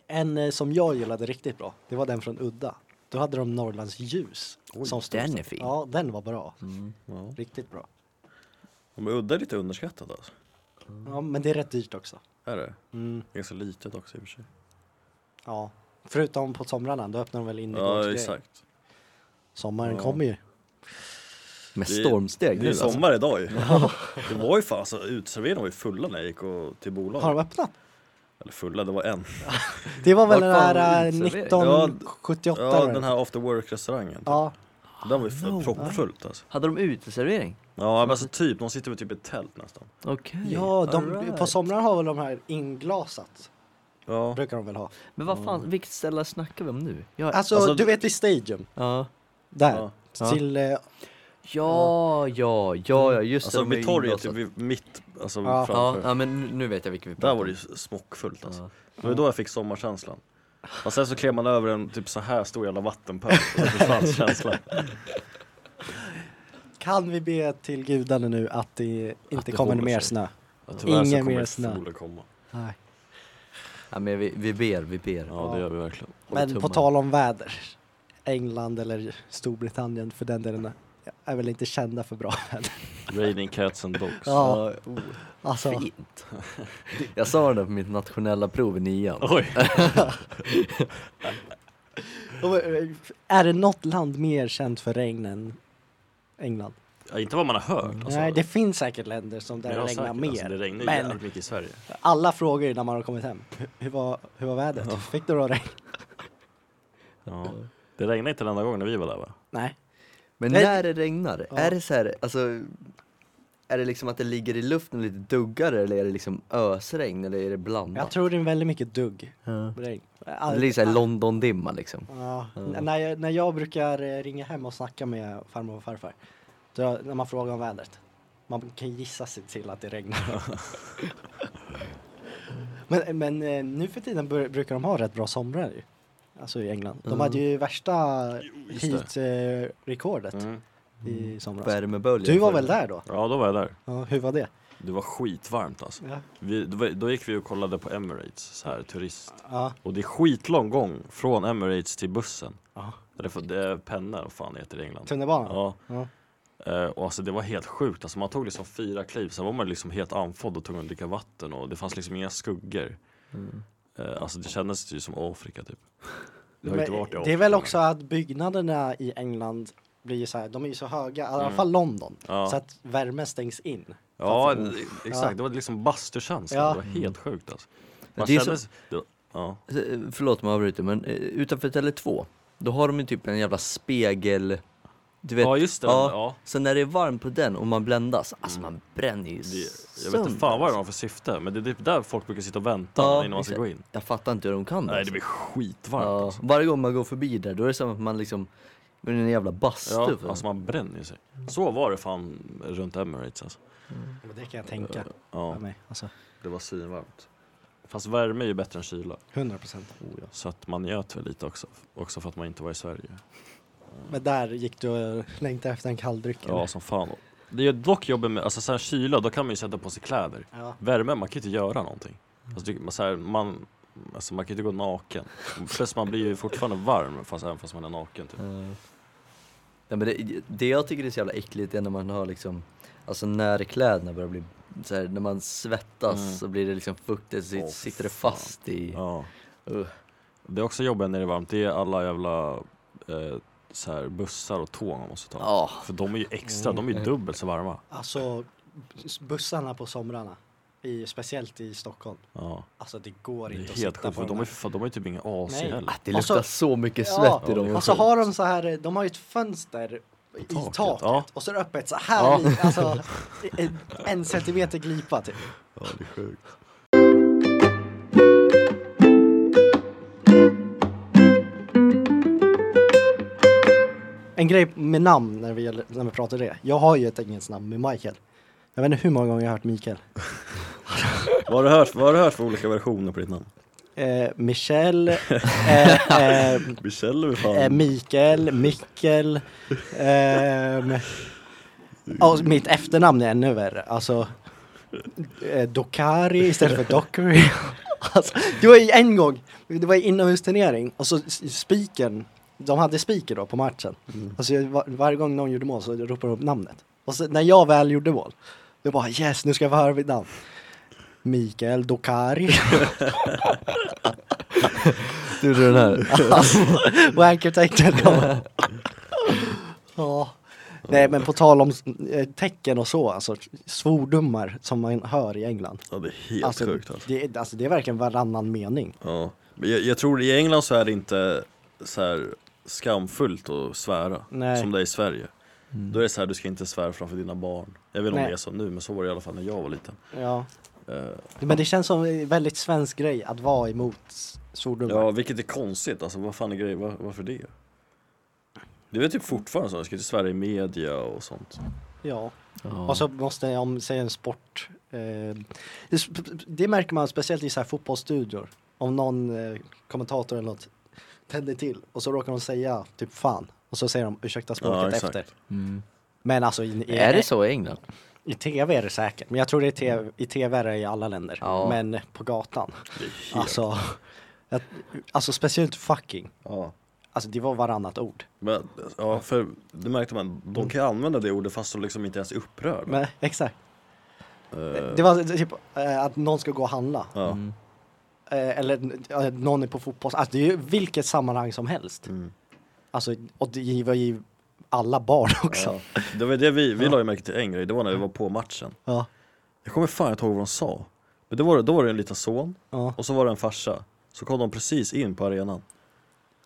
Speaker 1: en eh, som jag gillade riktigt bra, det var den från Udda. Då hade de Norrlands ljus.
Speaker 3: Oj,
Speaker 1: som storstark.
Speaker 3: den är fin.
Speaker 1: Ja, den var bra.
Speaker 4: Ja.
Speaker 1: Riktigt bra.
Speaker 4: Men udda är lite underskattat alltså.
Speaker 1: Ja, men det är rätt dyrt också.
Speaker 4: Är det?
Speaker 1: Mm,
Speaker 4: Ganska litet också i och för sig.
Speaker 1: ja. Förutom på somrarna, då öppnar de väl in
Speaker 4: Ja exakt.
Speaker 1: Sommaren
Speaker 4: Ja.
Speaker 1: kommer ju.
Speaker 3: Med
Speaker 4: Det är-
Speaker 3: stormsteg
Speaker 4: Det
Speaker 3: nu
Speaker 4: är
Speaker 3: alltså.
Speaker 4: sommar idag ju. Det var ju fan alltså, uteserveringarna var ju fulla när jag gick och, till bolaget.
Speaker 1: Har de öppnat?
Speaker 4: Eller fulla, det var en.
Speaker 1: Det var väl
Speaker 3: Vart
Speaker 1: den här
Speaker 3: fan
Speaker 1: eh,
Speaker 3: var utservering?
Speaker 1: 1978?
Speaker 4: Ja,
Speaker 1: eller?
Speaker 4: den här after work restaurangen.
Speaker 1: ja.
Speaker 4: Den var ju f- proppfullt alltså.
Speaker 3: Hade de uteservering?
Speaker 4: Ja men alltså typ, de sitter väl typ i ett tält nästan.
Speaker 3: Okej.
Speaker 1: Ja, de,
Speaker 3: alright.
Speaker 1: på somrarna har väl de här inglasat.
Speaker 4: Ja.
Speaker 1: Brukar de väl ha.
Speaker 3: Men vad fan, vilket ställe snackar vi om nu? Jag...
Speaker 1: Alltså,
Speaker 4: Alltså-
Speaker 1: du vet vid Stadium.
Speaker 3: Ja.
Speaker 2: Alltså-
Speaker 1: Där.
Speaker 4: ja.
Speaker 3: Ja.
Speaker 1: Till, eh,
Speaker 3: Ja, ja, ja, ja, just
Speaker 4: Alltså
Speaker 3: det. de är
Speaker 4: vid
Speaker 3: ju
Speaker 4: torget,
Speaker 3: inglasat.
Speaker 4: typ vid mitt, alltså
Speaker 1: Ja.
Speaker 3: Ja,
Speaker 4: framför.
Speaker 3: ja, men nu vet jag vilken vi
Speaker 4: Där
Speaker 3: pratar
Speaker 4: var det ju
Speaker 3: om.
Speaker 4: smockfullt alltså.
Speaker 3: Ja.
Speaker 4: Det var då jag fick sommarkänslan. Och sen så klev man över en typ så här stor jävla vattenpöl och så försvann känslan.
Speaker 1: kan vi be till gudarna nu att det inte
Speaker 2: det
Speaker 1: kommer
Speaker 2: håller
Speaker 1: mer
Speaker 2: sig.
Speaker 1: snö?
Speaker 2: Ja, tyvärr
Speaker 1: Ingen
Speaker 2: så kommer
Speaker 1: mer snö.
Speaker 2: solen komma.
Speaker 1: Nej.
Speaker 3: Ja, men vi, vi ber, vi ber.
Speaker 2: Ja, det gör vi verkligen.
Speaker 3: Håller
Speaker 1: Men på
Speaker 3: tummarna.
Speaker 1: tal om väder. England eller Storbritannien för den delen är väl inte kända för bra väder.
Speaker 2: Raining cats and dogs.
Speaker 1: Ja,
Speaker 3: oh,
Speaker 1: alltså.
Speaker 3: fint. Jag sa det där på mitt nationella prov i nian.
Speaker 2: Oj,
Speaker 1: Och, eh, Är det något land mer känt för regn än England?
Speaker 2: ja, inte vad man har hört alltså.
Speaker 1: Nej, det finns säkert länder som
Speaker 2: Men
Speaker 1: där det
Speaker 2: jag har
Speaker 1: regnar
Speaker 2: säkert,
Speaker 1: mer.
Speaker 2: Alltså, det regnar ju
Speaker 1: men
Speaker 2: jävligt mycket i Sverige.
Speaker 1: alla frågar ju när man har kommit hem. Hur- Hur var, hur var vädret? Fick du då regn?
Speaker 2: Ja. Det regnade inte den enda gången när vi var där va?
Speaker 1: Nej.
Speaker 3: Men
Speaker 1: Nej.
Speaker 3: när det regnar,
Speaker 1: Ja.
Speaker 3: är det så här, alltså är det liksom att det ligger i luften och lite duggar eller är det liksom ösregn eller är det blandat?
Speaker 1: Jag tror det är väldigt mycket dugg.
Speaker 3: Ja.
Speaker 1: Regn.
Speaker 3: Det blir såhär London-dimma liksom.
Speaker 1: Ja,
Speaker 3: Ja.
Speaker 1: När, jag, när jag brukar eh, ringa hem och snacka med farmor och farfar, då, när man frågar om vädret, man kan gissa sig till att det regnar. men, men eh, nu för tiden bur- brukar de ha rätt bra somrar ju. Alltså i England. De
Speaker 3: Mm.
Speaker 1: hade ju värsta
Speaker 2: just
Speaker 1: heat-rekordet
Speaker 2: Mm.
Speaker 1: i somras.
Speaker 3: Värmebölja.
Speaker 1: Du var väl där då?
Speaker 2: Ja, då var jag där.
Speaker 1: Ja, hur var det?
Speaker 2: Det var skitvarmt alltså.
Speaker 1: Ja.
Speaker 2: Vi, då, var- då gick vi och kollade på Emirates, så här turist.
Speaker 1: Ja.
Speaker 2: Och det är skitlång gång från Emirates till bussen.
Speaker 1: Ja.
Speaker 2: Eller för, det är penna, vad fan det heter i England.
Speaker 1: Tunnelbanan?
Speaker 2: Ja.
Speaker 1: Ja.
Speaker 2: Eh, och alltså det var helt sjukt, alltså man tog liksom fyra kliv, sen var man liksom helt andfådd och tvungen att dricka vatten och det fanns liksom inga skuggor.
Speaker 3: Mm.
Speaker 2: Eh, alltså det kändes ju som Afrika typ. Jag har
Speaker 1: Men
Speaker 2: inte varit i Afrika.
Speaker 1: det är väl också att byggnaderna i England blir ju så här, de är ju så höga, i alla
Speaker 2: Mm.
Speaker 1: fall London,
Speaker 2: Ja.
Speaker 1: så att värmen stängs in.
Speaker 2: Ja,
Speaker 1: Framför-
Speaker 2: det- exakt.
Speaker 1: Ja.
Speaker 2: Det var liksom bastukänsla.
Speaker 1: Ja.
Speaker 2: Det var helt sjukt alltså. Man
Speaker 3: det är
Speaker 2: kändes... det- Ja.
Speaker 3: Eh, Förlåt om jag avbryter men eh, utanför Tele2, då har de ju typ en jävla spegel, du vet.
Speaker 2: ja, just det.
Speaker 3: ja.
Speaker 2: Ja. Ja.
Speaker 3: Så när det är varmt på den och man bländas, alltså man bränner ju
Speaker 2: Mm. Det, jag vet
Speaker 3: sönder,
Speaker 2: inte fan vad det
Speaker 3: alltså.
Speaker 2: var för syfte, men det är typ där folk brukar sitta och vänta
Speaker 3: Ja,
Speaker 2: innan man ska
Speaker 3: exakt.
Speaker 2: gå in.
Speaker 3: Jag fattar inte hur de kan
Speaker 2: Nej,
Speaker 3: alltså.
Speaker 2: det blir skitvarmt
Speaker 3: ja,
Speaker 2: alltså.
Speaker 3: Varje gång man går förbi där, då är det som att man liksom, med en jävla bastu.
Speaker 2: Ja,
Speaker 3: för-
Speaker 2: alltså man bränner ju sig. Så var det fan runt Emirates alltså.
Speaker 1: Och Det kan jag tänka
Speaker 2: Ja,
Speaker 1: för mig, alltså
Speaker 2: det var svinvarmt. Fast värme är ju bättre än kyla,
Speaker 1: 100 procent.
Speaker 2: så att man njöt väl lite också. Också för att man inte var i Sverige.
Speaker 1: Men där gick du och längtade efter en kalldryck?
Speaker 2: Ja,
Speaker 1: eller?
Speaker 2: som fan. Det är dock jobbigt med, alltså så här kyla, då kan man ju sätta på sig kläder.
Speaker 1: ja.
Speaker 2: Värme, man kan ju inte göra någonting. Alltså, det, man, så här, man, alltså, man kan ju inte gå naken. Plus man blir ju fortfarande varm fast, även fast man är naken. Typ.
Speaker 3: Eh, Nej, men det, det jag tycker är så jävla äckligt är när man har liksom, alltså när kläderna börjar bli så här, när man svettas
Speaker 5: Mm.
Speaker 3: så blir det liksom fuktigt så
Speaker 5: Åh,
Speaker 3: sitter det
Speaker 5: fan.
Speaker 3: fast i...
Speaker 5: Ja.
Speaker 3: Ugh.
Speaker 5: Det är också jobbigt när det är varmt, det är alla jävla eh, så här bussar och tåg man måste ta.
Speaker 3: Ja.
Speaker 5: För de är ju extra, de är ju dubbelt så varma.
Speaker 1: Alltså s- bussarna på somrarna, i, speciellt i Stockholm.
Speaker 5: Ja.
Speaker 1: Alltså det går
Speaker 5: Det
Speaker 1: inte
Speaker 5: är
Speaker 1: att sitta
Speaker 5: helt sjukt,
Speaker 1: på
Speaker 5: för de har
Speaker 1: här.
Speaker 5: ju för- de har ju typ ingen AC
Speaker 1: Nej.
Speaker 5: heller.
Speaker 3: Det
Speaker 1: Och så-
Speaker 2: Alltså-
Speaker 3: luktar så mycket svett
Speaker 1: Ja,
Speaker 3: i dem.
Speaker 1: och så Alltså, har de så här, de har ju ett fönster i
Speaker 5: taket,
Speaker 1: taket,
Speaker 5: ja.
Speaker 1: och så är det öppet så här,
Speaker 5: Ja.
Speaker 1: i, alltså en, en centimeter glipa typ.
Speaker 2: Ja, det är sjukt.
Speaker 1: En grej med namn när vi, gäller- när vi pratar det. Jag har ju ett engelskt namn med Michael. Jag vet inte hur många gånger jag har hört Mikael.
Speaker 2: Vad har du hört, vad har du hört för olika versioner på ditt namn?
Speaker 1: Eh, Michel, eh, eh,
Speaker 2: Michelle är fan...
Speaker 1: eh, Mikael, Mikkel. ehm, ja, och mitt efternamn är ännu värre. Alltså, eh, Dokari istället för Dockery. Alltså, det var ju en gång, det var ju inomhusturnering och så s- spiken, de hade spiker då på matchen. Alltså jag- var, varje gång någon gjorde mål så ropade de upp namnet. Och så, när jag väl gjorde mål, då bara yes, nu ska jag få höra mitt namn. Mikael Dokari.
Speaker 3: Du den här.
Speaker 1: Alltså, Wanker tecken ja. ja. Nej men på tal om eh, tecken och så, alltså svordomar som man hör i England.
Speaker 2: Ja, det är helt
Speaker 1: alltså,
Speaker 2: sjukt alltså.
Speaker 1: Det, är- alltså det är verkligen varannan mening.
Speaker 2: Ja. Men jag, jag tror i England så är det inte så här skamfullt att svära
Speaker 1: Nej.
Speaker 2: som det är i Sverige. Då är det så här, du ska inte svära framför dina barn. Jag vet inte om
Speaker 1: Nej.
Speaker 2: det är så nu, men så var det i alla fall när jag var liten.
Speaker 1: Ja.
Speaker 2: Eh,
Speaker 1: Men det känns som en väldigt svensk grej att vara emot s- svordomar.
Speaker 2: ja, vilket är konstigt, alltså vad fan är grejen, Var, varför det? Det är väl typ fortfarande så, du ska inte svära i media och sånt.
Speaker 1: Ja.
Speaker 3: Ja.
Speaker 1: Och
Speaker 2: Alltså-
Speaker 1: så måste jag om säg en sport. Eh, det, sp- det märker man speciellt i så här fotbollsstudior. Om någon eh, kommentator eller något tänder till och så råkar de säga typ fan. Och så säger de ursäkta
Speaker 2: Ja,
Speaker 1: språket
Speaker 2: exakt.
Speaker 1: efter.
Speaker 3: Mm.
Speaker 1: Men alltså i, i,
Speaker 3: Är det så i England?
Speaker 1: i tv är det säkert. Men jag tror det är TV, i tv är det i alla länder.
Speaker 3: Ja.
Speaker 1: Men på gatan.
Speaker 2: Det är helt...
Speaker 1: Alltså, jag, alltså speciellt fucking.
Speaker 2: ja.
Speaker 1: Alltså det var varannat ord.
Speaker 2: Men, ja, för det märkte man, de kan ju använda det ordet fast de liksom inte ens är upprörda.
Speaker 1: Men, exakt.
Speaker 2: Eh,
Speaker 1: Det var typ eh, att någon ska gå och handla.
Speaker 2: ja.
Speaker 3: Mm.
Speaker 1: Eh, eller eh, någon är på fotboll. Alltså det är ju vilket sammanhang som helst.
Speaker 2: Mm.
Speaker 1: Alltså, och det var ju alla barn också.
Speaker 2: Ja. Det var det vi, vi la ju märke till en grej, det var när vi
Speaker 1: Mm.
Speaker 2: var på matchen.
Speaker 1: Ja.
Speaker 2: Jag kommer fan inte ihåg vad de sa. Men då var, det, då var det en liten son
Speaker 1: Ja.
Speaker 2: och så var det en farsa. Så kom de precis in på arenan.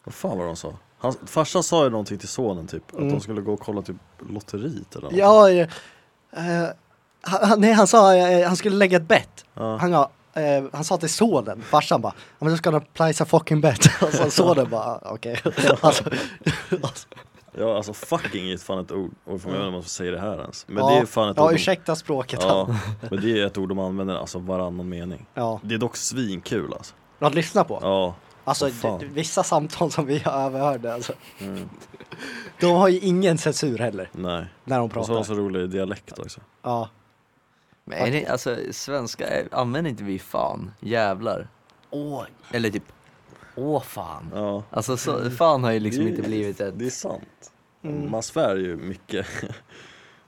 Speaker 2: Vad fan var det de sa? Han, farsan sa ju någonting till sonen typ, att
Speaker 1: Mm.
Speaker 2: de skulle gå och kolla typ lotteriet eller något.
Speaker 1: ja. eh, eh, han, nej, han sa eh, han skulle lägga ett bett.
Speaker 2: Ja.
Speaker 1: Han, ga- eh, han sa till sonen, farsan bara, ja men då ska han place a fucking bet. Och så sonen bara, "Ah, okej. Alltså, alltså,
Speaker 2: ja alltså fucking är ett fan ett ord, och för mig vet inte om man får säga det här ens. Men
Speaker 1: Mm. ja,
Speaker 2: det är fan ett
Speaker 1: Ja,
Speaker 2: ord de,
Speaker 1: ursäkta språket. Ja.
Speaker 2: ja, men det är ett ord de använder alltså varannan mening.
Speaker 1: Ja,
Speaker 2: Det är dock svinkul alltså.
Speaker 1: att lyssna på.
Speaker 2: Ja,
Speaker 1: alltså
Speaker 2: vad fan. Mm.
Speaker 1: d- vissa samtal som vi överhörde alltså. De har ju ingen censur heller
Speaker 2: nej.
Speaker 1: när de
Speaker 2: Och så har
Speaker 1: pratar.
Speaker 2: de så rolig dialekt också.
Speaker 1: Ja.
Speaker 3: Men är det, alltså svenska, är- använder inte vi fan, jävlar? Åh. Eller typ, åh fan.
Speaker 2: Ja.
Speaker 3: Alltså så, fan har ju liksom
Speaker 2: Det är-
Speaker 3: inte blivit ett...
Speaker 2: Det är sant.
Speaker 1: Mm.
Speaker 2: Man svär ju mycket.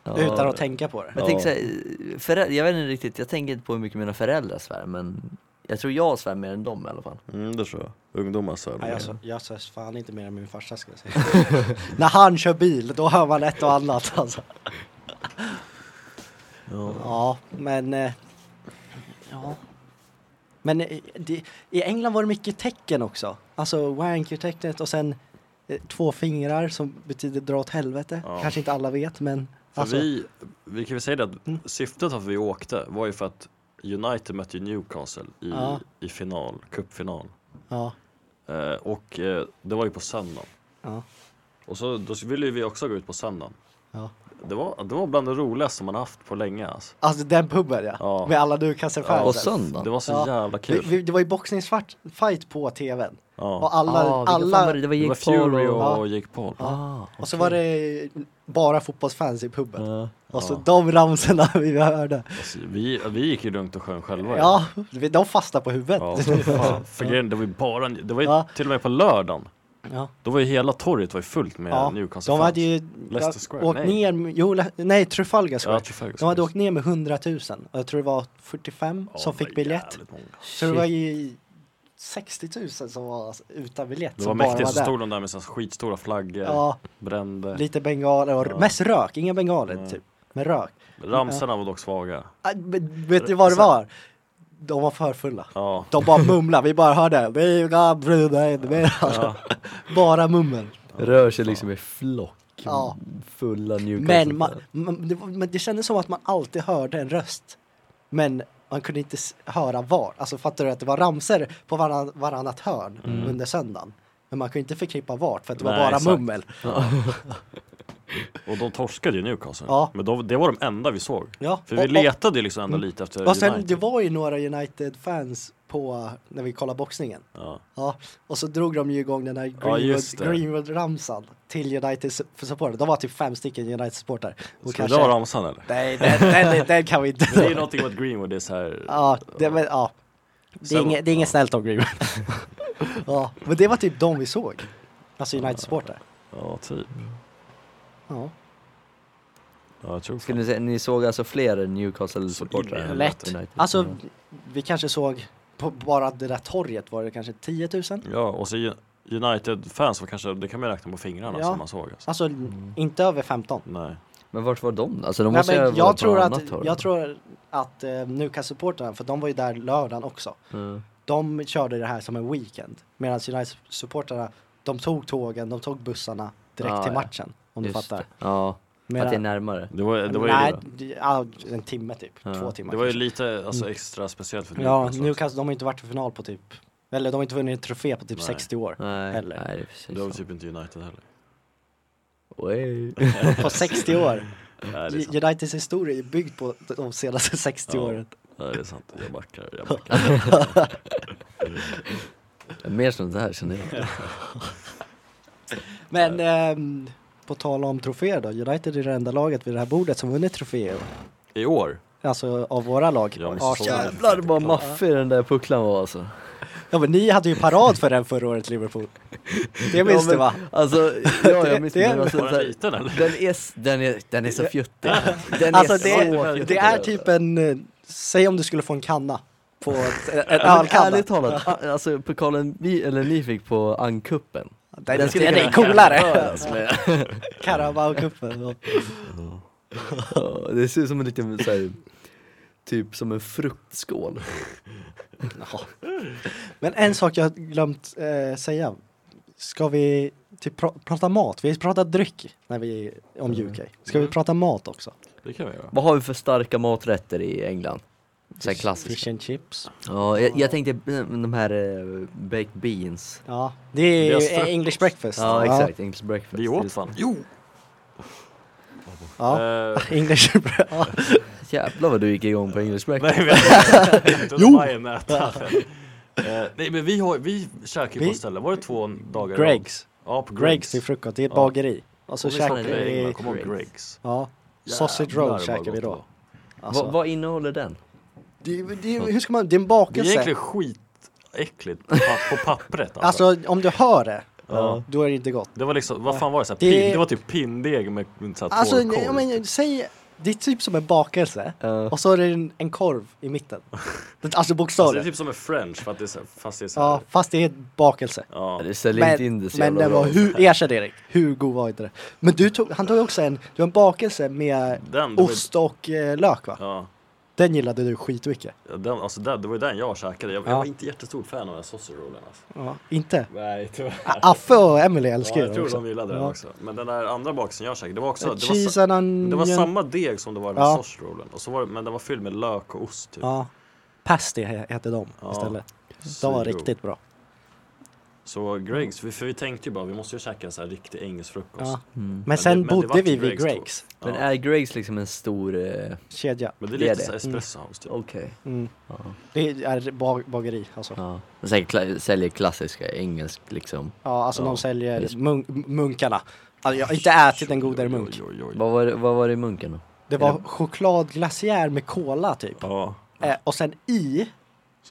Speaker 3: Ja.
Speaker 1: Utan att tänka på det.
Speaker 3: Men
Speaker 2: Ja.
Speaker 3: tänk så här, föräldrar, jag vet inte riktigt, jag tänker inte på hur mycket mina föräldrar svär men jag tror jag svär mer än dem i alla fall.
Speaker 2: Mm, det tror jag. Ungdomar svär
Speaker 1: Nej,
Speaker 2: mer.
Speaker 1: alltså, jag sörs fan inte mer än min farsa ska jag säga. När han kör bil, då hör man ett och annat alltså.
Speaker 2: Ja.
Speaker 1: Ja, men... eh, Ja. Men eh, det, i England var det mycket tecken också. Alltså wanker-tecknet och sen eh, två fingrar som betyder dra åt helvete.
Speaker 5: Ja.
Speaker 1: Kanske inte alla vet, men...
Speaker 5: För
Speaker 1: Alltså,
Speaker 5: vi, vi kan väl säga det att
Speaker 1: Mm.
Speaker 5: syftet att vi åkte var ju för att United mötte ju Newcastle i,
Speaker 1: Ja.
Speaker 5: i final, cupfinal.
Speaker 1: ja,
Speaker 5: Eh, och eh, det var ju på söndagen.
Speaker 1: ja,
Speaker 5: Och så, då ville ju vi också gå ut på söndagen.
Speaker 1: ja.
Speaker 5: Det var, det var bland det roligaste man haft på länge alltså.
Speaker 1: Alltså den puben ja.
Speaker 5: Ja.
Speaker 1: Med alla Newcastle-fans.
Speaker 3: På söndagen?
Speaker 5: Det var så
Speaker 1: Ja.
Speaker 5: jävla
Speaker 1: Vi-
Speaker 5: kul.
Speaker 1: vi- Det var ju boxningsfight på tvn.
Speaker 5: ja.
Speaker 1: Och alla,
Speaker 3: Ah, vilka fan
Speaker 1: alla
Speaker 3: var det?
Speaker 5: Det
Speaker 3: det var
Speaker 5: var
Speaker 3: Jake Paul
Speaker 5: Fury
Speaker 3: och...
Speaker 5: och
Speaker 1: Ja.
Speaker 5: Jake Paul.
Speaker 3: Ah,
Speaker 1: Och så var det bara fotbollsfans i puben.
Speaker 3: Ja.
Speaker 1: Och så
Speaker 5: Ja.
Speaker 1: de ramsorna vi hörde.
Speaker 5: Alltså, vi, vi gick ju runt och sjöng själva. ju.
Speaker 1: Ja, de fastnade på huvudet.
Speaker 5: Ja, för fan. För grejen, det var ju bara, det var ju
Speaker 1: Ja.
Speaker 5: till och med på lördagen
Speaker 1: Ja.
Speaker 2: Då var ju hela torget var ju fullt med
Speaker 1: Ja,
Speaker 2: Newcastle
Speaker 1: De hade ju
Speaker 2: Alltså, Leicester Square,
Speaker 1: åkt
Speaker 2: nej.
Speaker 1: ner, med- jo, Le- nej Trafalgar Square.
Speaker 2: Ja, Trafalgar
Speaker 1: de hade
Speaker 2: Square.
Speaker 1: åkt ner med 100 000 och jag tror det var 45
Speaker 2: Ja,
Speaker 1: som
Speaker 2: det
Speaker 1: fick
Speaker 2: var
Speaker 1: biljett.
Speaker 2: jävligt många.
Speaker 1: Så det var ju 60 000 som var utan biljett.
Speaker 2: Det var
Speaker 1: som
Speaker 2: mäktigt,
Speaker 1: bara
Speaker 2: så
Speaker 1: var
Speaker 2: stod de där med sina skitstora flaggor,
Speaker 1: Ja,
Speaker 2: brände.
Speaker 1: lite bengaler och
Speaker 2: Ja. Mm.
Speaker 1: mest rök, inga bengaler
Speaker 2: Nej.
Speaker 1: typ. Men rök.
Speaker 2: Ramsorna var dock svaga.
Speaker 1: Ah, men Vet du vad det
Speaker 2: Så-
Speaker 1: var? De var för fulla.
Speaker 2: Ja.
Speaker 1: De bara mumlade, vi bara hörde "Vi ska bjuda in mer."
Speaker 2: Ja.
Speaker 1: Bara mummel.
Speaker 6: Rör sig liksom i flock.
Speaker 1: Ja.
Speaker 6: Fulla Newcastle.
Speaker 1: Men, man, man, det, var- men det kändes som att man alltid hörde en röst. Men man kunde inte s- höra var. Alltså fattar du att det var ramser på varann, varannat hörn under söndagen. Men man kunde inte förknippa vart för att det var
Speaker 2: Mm. Nej,
Speaker 1: bara
Speaker 2: exakt.
Speaker 1: mummel.
Speaker 2: Och de torskade ju Newcastle.
Speaker 1: Ja.
Speaker 2: Men de, det var de enda vi såg.
Speaker 1: Ja.
Speaker 2: För vi
Speaker 1: och, och,
Speaker 2: letade ju liksom ändå lite efter
Speaker 1: och sen
Speaker 2: United.
Speaker 1: det var ju några United-fans på när vi kollade boxningen.
Speaker 2: Ja.
Speaker 1: Ja, och så drog de ju igång den här
Speaker 2: just det.
Speaker 1: Greenwood- Greenwood-ramsan till United-supportrar. De var typ fem stycken United-supportrar. Och
Speaker 2: Ska vi
Speaker 1: kanske-
Speaker 2: dra ramsan eller?
Speaker 1: Nej, den, den, den kan vi inte.
Speaker 2: Det är ju någonting med att Greenwood är så här.
Speaker 1: Ja, det, men, ja. det är
Speaker 2: Sen-
Speaker 1: inget, det är inget
Speaker 2: ja.
Speaker 1: snällt om Greenwood. ja, men det var typ de vi såg. Alltså United-supportrar.
Speaker 2: Ja, typ.
Speaker 1: Ja.
Speaker 2: Ja, jag tror fan.
Speaker 3: Skulle ni säga, ni såg alltså fler
Speaker 2: Så in i
Speaker 3: Newcastle-supportrar? än
Speaker 2: helvete.
Speaker 1: Lätt.
Speaker 3: United?
Speaker 1: Alltså, vi kanske såg på bara det där torget var det kanske 10 000.
Speaker 2: Ja, och så U- United-fans var kanske, det kan man ju räkna på fingrarna
Speaker 1: Ja.
Speaker 2: som man såg. Alltså.
Speaker 1: Alltså, inte över 15.
Speaker 2: Nej.
Speaker 3: Men vart var de? Alltså de
Speaker 1: Nej,
Speaker 3: måste ju ha
Speaker 1: men jag,
Speaker 3: varit
Speaker 1: tror
Speaker 3: på
Speaker 1: att,
Speaker 3: annat håll.
Speaker 1: jag tror att eh, Newcastle-supportrarna, för de var ju där lördagen också.
Speaker 3: Mm.
Speaker 1: De körde det här som en weekend. Medan United-supportrarna, de tog tågen, de tog bussarna direkt
Speaker 3: Ah,
Speaker 1: till
Speaker 3: ja.
Speaker 1: matchen. Om du
Speaker 3: Just
Speaker 1: fattar.
Speaker 3: det. Ja, att det är
Speaker 1: Medan-
Speaker 3: närmare.
Speaker 2: Det var, det var ju,
Speaker 1: Nej, det- ja, en timme typ.
Speaker 3: Ja.
Speaker 1: Två timmar.
Speaker 2: det var ju
Speaker 1: kanske.
Speaker 2: lite alltså, extra speciellt för
Speaker 1: Mm. Ja,
Speaker 2: Newcastle. också.
Speaker 1: Newcastle, de har inte varit i final på typ, eller de har inte vunnit en trofé på typ
Speaker 2: Nej.
Speaker 1: 60 år.
Speaker 3: Nej,
Speaker 1: Eller?
Speaker 3: nej det är precis
Speaker 2: Det var
Speaker 3: så.
Speaker 2: väl typ inte United heller.
Speaker 3: Oj.
Speaker 1: På 60 år.
Speaker 2: Nej, det är sant.
Speaker 1: Uniteds historia är byggd på de senaste 60
Speaker 2: Ja.
Speaker 1: åren.
Speaker 2: Nej, det är sant. Jag backar, jag backar.
Speaker 3: Mer sånt här känner jag.
Speaker 1: Men ehm, på tal om troféer då, United är det enda laget vid det här bordet som vunnit troféer.
Speaker 2: I år?
Speaker 1: Alltså av våra lag.
Speaker 2: Ja, men
Speaker 1: Arsenal.
Speaker 2: säsongen.
Speaker 3: Jävlar vad maffig den där pucklan var alltså.
Speaker 1: ja men ni hade ju parad för den förra året Liverpool. Det minns
Speaker 3: men-
Speaker 1: du va?
Speaker 3: Alltså, ja
Speaker 1: Det-
Speaker 3: jag minns
Speaker 1: det är
Speaker 3: det. men Alltså,
Speaker 2: Var
Speaker 3: så
Speaker 2: den
Speaker 3: här,
Speaker 2: liten eller?
Speaker 3: den, är, s- den, är, den är så fjuttig. Den
Speaker 1: Alltså
Speaker 3: är
Speaker 1: det,
Speaker 3: så
Speaker 1: är-
Speaker 3: fjuttig. Alltså,
Speaker 1: det är typ en, eh, säg om du skulle få en kanna på ett, en
Speaker 3: Men
Speaker 1: ölkanna.
Speaker 3: Ärligt talat, a- alltså pokalen vi, eller ni fick på Angkuppen.
Speaker 1: Den,
Speaker 3: Den skulle
Speaker 1: den är
Speaker 3: kunna
Speaker 1: coolare!
Speaker 3: jämföras med-
Speaker 1: Carabao-cupen.
Speaker 3: Ja, Det ser ut som en liten så här, typ som en fruktskål.
Speaker 1: Men en sak jag har glömt eh, säga. Ska vi typ pra- prata mat? Vi har pratat dryck när vi, om UK. Ska vi prata mat också?
Speaker 2: Det kan vi göra.
Speaker 3: Vad har vi för starka maträtter i England? Så här klassiskt.
Speaker 1: Fish and chips.
Speaker 3: Ja, jag, jag tänkte eh, de här eh, baked beans.
Speaker 1: Ja, det är
Speaker 2: Deras
Speaker 1: ju
Speaker 2: frukost.
Speaker 1: English breakfast.
Speaker 3: Ja, exakt, English breakfast.
Speaker 2: Vi åt fan. Jo!
Speaker 1: Ja.
Speaker 2: Eh,
Speaker 1: English breakfast. Ja.
Speaker 3: Jävlar vad du gick igång på English breakfast.
Speaker 2: nej, vi jo! Eh, nej men vi, har, vi käkar ju på
Speaker 1: Vi-
Speaker 2: ett ställe, var det två dagar i rad?
Speaker 1: Greggs.
Speaker 2: Ja, på
Speaker 1: Greggs
Speaker 2: Greggs.
Speaker 1: till frukost. Det är ett
Speaker 2: Ja.
Speaker 1: bageri. Och så
Speaker 2: Och vi snackade
Speaker 1: käkar
Speaker 2: Greggs.
Speaker 1: vi...
Speaker 2: Jag kommer ihåg Greggs.
Speaker 1: Ja. Sausage roll
Speaker 2: Jävlar, vad
Speaker 1: käkar vi
Speaker 2: gott
Speaker 1: då.
Speaker 2: det var.
Speaker 1: Alltså,
Speaker 3: Vad, vad innehåller den?
Speaker 1: Det, det, hur ska man... Det är en
Speaker 2: Det är
Speaker 1: bakelse.
Speaker 2: egentligen skitäckligt på pa- på pappret alltså.
Speaker 1: Alltså om du hör det,
Speaker 2: Ja.
Speaker 1: då är det inte gott.
Speaker 2: Det var liksom, vad fan var det? Så här,
Speaker 1: Det-
Speaker 2: pin, det var typ pinndeg med så här
Speaker 1: Alltså,
Speaker 2: torrkorv.
Speaker 1: ja, men, säg, det är typ som en bakelse
Speaker 3: Ja.
Speaker 1: och så är det en, en korv i mitten. Det- Alltså
Speaker 2: alltså, typ- det är
Speaker 1: bokstavligt.
Speaker 2: typ som en french för att det är så här, fast det är så här,
Speaker 1: Ja, fast det är en bakelse.
Speaker 2: ja.
Speaker 3: Du säljer inte in
Speaker 1: Men,
Speaker 3: det så
Speaker 1: men
Speaker 3: jävla
Speaker 1: den
Speaker 3: bra.
Speaker 1: var,
Speaker 2: alltså.
Speaker 1: hur, erkänn Erik, hur god var inte det? Men du tog, han tog ju också en, du har en bakelse med
Speaker 2: Den, det var ju-
Speaker 1: ost och eh, lök va?
Speaker 2: Ja.
Speaker 1: Den gillade du skitmycket.
Speaker 2: Ja, Den, alltså den, det var ju den jag käkade. Jag,
Speaker 1: Ja.
Speaker 2: jag var inte jättestor fan av den här sausage rollen alltså.
Speaker 1: Ja. Inte?
Speaker 2: Nej tyvärr.
Speaker 1: A- Affe och Emily älskar
Speaker 2: Ja,
Speaker 1: ju
Speaker 2: jag tror
Speaker 1: också.
Speaker 2: de gillade den
Speaker 1: Ja.
Speaker 2: också. Men den där andra bakelsen jag käkade, det var också, det var,
Speaker 1: Cheese
Speaker 2: sa-
Speaker 1: and onion.
Speaker 2: det var samma deg som det var den
Speaker 1: Ja.
Speaker 2: här sausage rollen. Och så var det, men den var fylld med lök och ost typ.
Speaker 1: Ja. Pasty he- hette de
Speaker 2: Ja.
Speaker 1: istället.
Speaker 2: Så
Speaker 1: De var
Speaker 2: god.
Speaker 1: riktigt bra.
Speaker 2: Så Greggs, vi- för vi tänkte ju bara vi måste ju käka en sån här riktig engelsk frukost.
Speaker 1: Ja.
Speaker 2: Ja.
Speaker 3: Mm.
Speaker 1: Men
Speaker 2: det-
Speaker 1: sen
Speaker 2: men det typ
Speaker 1: bodde
Speaker 2: vart
Speaker 1: vi
Speaker 2: ju
Speaker 1: vid
Speaker 2: Greggs då.
Speaker 1: Greggs
Speaker 3: Men är Greggs liksom en stor... Eh,
Speaker 1: kedja.
Speaker 2: Men det är
Speaker 3: Det är
Speaker 2: lite
Speaker 3: det.
Speaker 2: så här espresso house typ.
Speaker 3: Okej.
Speaker 1: Mm.
Speaker 3: Ja.
Speaker 1: Det är ba- bageri alltså. Ja,
Speaker 3: Ja. Men Säkert kla- säljer klassiska engelsk liksom.
Speaker 1: alltså
Speaker 2: Ja.
Speaker 1: de säljer
Speaker 3: Yes.
Speaker 1: mun- munkarna. Alltså, jag har inte ätit en godare munk.
Speaker 2: Oj, oj, oj, oj.
Speaker 3: Vad var, det- vad var det i munken då?
Speaker 1: Det var chokladglaciär med cola typ.
Speaker 2: Ja.
Speaker 1: Eh, och sen i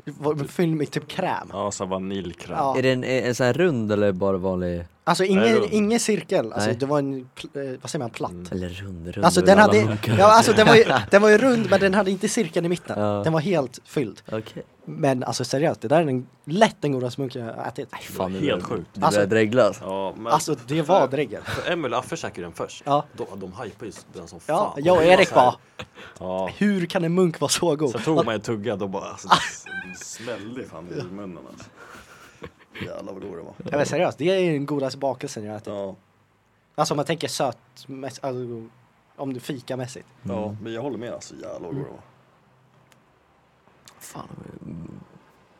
Speaker 1: Vad- Fyll med typ kräm.
Speaker 5: Ja, så här vaniljkräm.
Speaker 1: Ja.
Speaker 3: Är den en, en sån här rund eller bara vanlig?
Speaker 1: Alltså
Speaker 5: Nej,
Speaker 1: ingen,
Speaker 5: rund.
Speaker 1: ingen cirkel, alltså,
Speaker 3: Nej.
Speaker 1: det var en, pl- eh, vad säger man, platt.
Speaker 3: Eller rund, rund.
Speaker 1: Alltså
Speaker 3: rund,
Speaker 1: den
Speaker 3: alla
Speaker 1: hade,
Speaker 3: munkar.
Speaker 1: ja, alltså, den, var ju, den var ju rund men den hade inte cirkeln i mitten.
Speaker 3: Ja.
Speaker 1: Den var helt fylld.
Speaker 3: Okej.
Speaker 1: Men alltså seriöst, det där är den, lätt den godaste munken jag har ätit.
Speaker 3: Fan, nu
Speaker 5: Helt
Speaker 3: börjar-
Speaker 5: sjukt.
Speaker 3: Du börjar
Speaker 1: Alltså-
Speaker 3: dregla alltså.
Speaker 5: Ja, men
Speaker 1: Alltså det var dregel.
Speaker 5: för Emil Affe käkade den först.
Speaker 1: Ja.
Speaker 5: De, de hypade ju den som
Speaker 1: Ja,
Speaker 5: fan.
Speaker 1: jag och
Speaker 5: Det var
Speaker 1: Erik
Speaker 5: så här-
Speaker 1: bara,
Speaker 5: Ja.
Speaker 1: hur kan en munk vara så god?
Speaker 5: Så tog man en tugga då bara, alltså, det smällde fan i munnen alltså.
Speaker 2: Jävlar vad god det var.
Speaker 1: Nej men seriöst, det är den godaste bakelsen jag har ätit.
Speaker 2: Ja,
Speaker 1: Alltså om man tänker söt, mäss- alltså, om du fikamässigt.
Speaker 2: ja men jag håller med alltså. Jävlar vad god det var.
Speaker 3: Fan,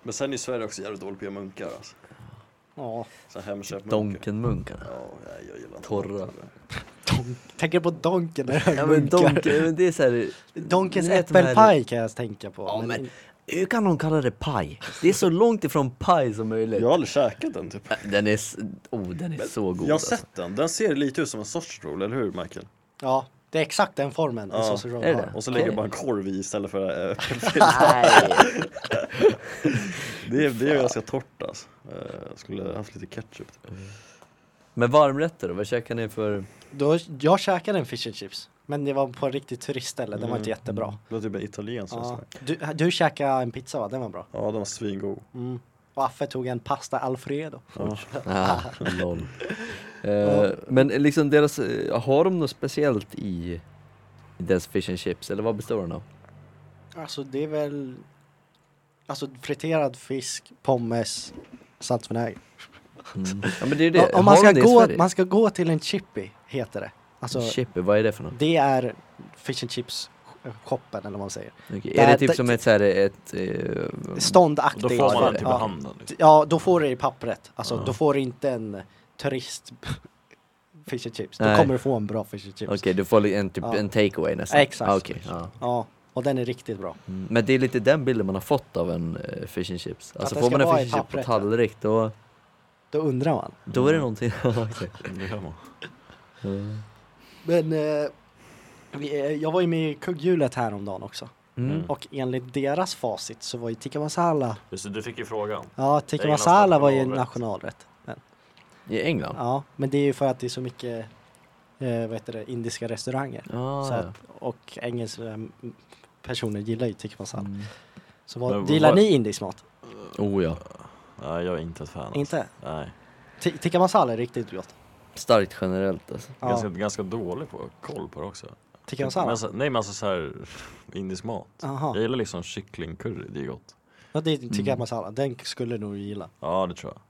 Speaker 2: Men sen är Sverige också jävligt dåligt på att göra munkar alltså.
Speaker 1: Ja.
Speaker 2: Så här hemköpt munkar.
Speaker 3: Donkenmunkarna.
Speaker 2: Ja, nej, jag gillar inte
Speaker 3: Torra.
Speaker 2: munkar.
Speaker 1: Tänker på Donken när jag
Speaker 3: Ja
Speaker 1: hör
Speaker 3: men
Speaker 1: munkar.
Speaker 3: donken, men det är såhär.
Speaker 1: Donkens
Speaker 3: Ni vet de här-
Speaker 1: äppelpaj kan jag tänka på.
Speaker 3: Ja men, hur kan någon kalla det paj? Det är så långt ifrån paj som möjligt.
Speaker 2: Jag har aldrig käkat den typ.
Speaker 3: Den är, s- oh den är så Äh, god
Speaker 2: Jag har
Speaker 3: alltså.
Speaker 2: sett den. Den ser lite ut som en sausage roll, eller hur Michael?
Speaker 1: Ja, det är exakt den formen en
Speaker 2: Ja,
Speaker 1: sausage roll
Speaker 3: är det
Speaker 1: har.
Speaker 2: Och så
Speaker 3: Okej.
Speaker 2: lägger du bara en korv i istället för eh, äppelfil.
Speaker 3: Nej.
Speaker 2: Det är, det är ganska torrt alltså. Eh, skulle haft lite ketchup. typ.
Speaker 3: Men varmrätter då, vad käkar ni för?
Speaker 1: Då, jag käkade en fish and chips, men det var på en riktigt turistställe, den var inte jättebra.
Speaker 2: Det var typ en italiensk
Speaker 1: Ja.
Speaker 2: sås.
Speaker 1: Du, du käkade en pizza va? Den var bra.
Speaker 2: Ja, den var svingod.
Speaker 1: Mm. Och Affe tog en pasta alfredo.
Speaker 3: Ah, lol. Eh, men liksom deras, eh, har de något speciellt i i deras fish and chips eller vad består den av?
Speaker 1: Alltså det är väl, alltså friterad fisk, pommes, saltvinäger.
Speaker 3: Mm. Ja men det är
Speaker 1: Om-
Speaker 3: det,
Speaker 1: Om man
Speaker 3: har
Speaker 1: ska,
Speaker 3: de det i
Speaker 1: gå,
Speaker 3: Sverige?
Speaker 1: man ska gå till en chippy, heter det. Alltså,
Speaker 3: Chippy, vad är det för något?
Speaker 1: det är fish and chips shoppen eller vad man säger.
Speaker 3: Okej,
Speaker 1: Det
Speaker 3: Är det
Speaker 1: här-
Speaker 3: typ
Speaker 1: det-
Speaker 3: som ett såhär, ett... eh,
Speaker 1: Ståndaktigt.
Speaker 5: Då får man den typ i
Speaker 1: Ja.
Speaker 5: handen. Liksom.
Speaker 1: Ja, då får du i pappret. Alltså,
Speaker 5: Ja.
Speaker 1: då får du inte en turist fish and chips. Då
Speaker 3: Nej.
Speaker 1: kommer du få en bra fish and chips.
Speaker 3: Okej, du får li- en, typ,
Speaker 1: Ja.
Speaker 3: en takeaway nästan?
Speaker 1: Exakt.
Speaker 3: Ah, okej, ja.
Speaker 1: Ja, och den är riktigt bra.
Speaker 3: Mm. Men det är lite den bilden man har fått av en eh, fish and chips. Alltså
Speaker 1: den
Speaker 3: får
Speaker 1: ska
Speaker 3: man en
Speaker 1: vara
Speaker 3: fish
Speaker 1: i
Speaker 3: and chips på
Speaker 1: pappret,
Speaker 3: tallrik då,
Speaker 1: Då undrar man.
Speaker 3: då är det någonting... Ja, exakt.
Speaker 5: Det gör man.
Speaker 1: Men eh, vi, eh, jag var ju med i kugghjulet häromdagen också.
Speaker 3: mm.
Speaker 1: Och enligt deras facit så var ju tikka masala,
Speaker 5: Just det, du fick ju frågan.
Speaker 1: ja
Speaker 5: Det är
Speaker 1: tikka
Speaker 5: ingen
Speaker 1: masala var ju en
Speaker 5: nationalrätt.
Speaker 1: nationalrätt. Men,
Speaker 3: I England?
Speaker 1: ja, men det är ju för att det är så mycket eh, vad heter det, indiska restauranger.
Speaker 3: Ah,
Speaker 1: Så
Speaker 3: ja.
Speaker 1: att, och engelska eh, personer gillar ju tikka masala.
Speaker 3: Mm.
Speaker 1: Så vad,
Speaker 5: Men vad-
Speaker 1: gillar ni indisk mat?
Speaker 3: Oh ja.
Speaker 5: Nej, jag är inte ett fan. alltså.
Speaker 1: Inte?
Speaker 5: Nej.
Speaker 1: Ti- Tikka masala är riktigt gott.
Speaker 3: Starkt generellt alltså.
Speaker 5: Ganska,
Speaker 1: Ja,
Speaker 5: ganska dålig på koll på det också.
Speaker 1: tikka
Speaker 5: Men
Speaker 1: masala.
Speaker 5: alltså, nej men alltså såhär, indisk mat.
Speaker 1: Aha.
Speaker 2: Mm.
Speaker 5: Jag gillar liksom kycklingcurry, det är gott.
Speaker 1: Ja, det är tikka masala. Den skulle nog du gilla.
Speaker 5: Ja, det tror jag.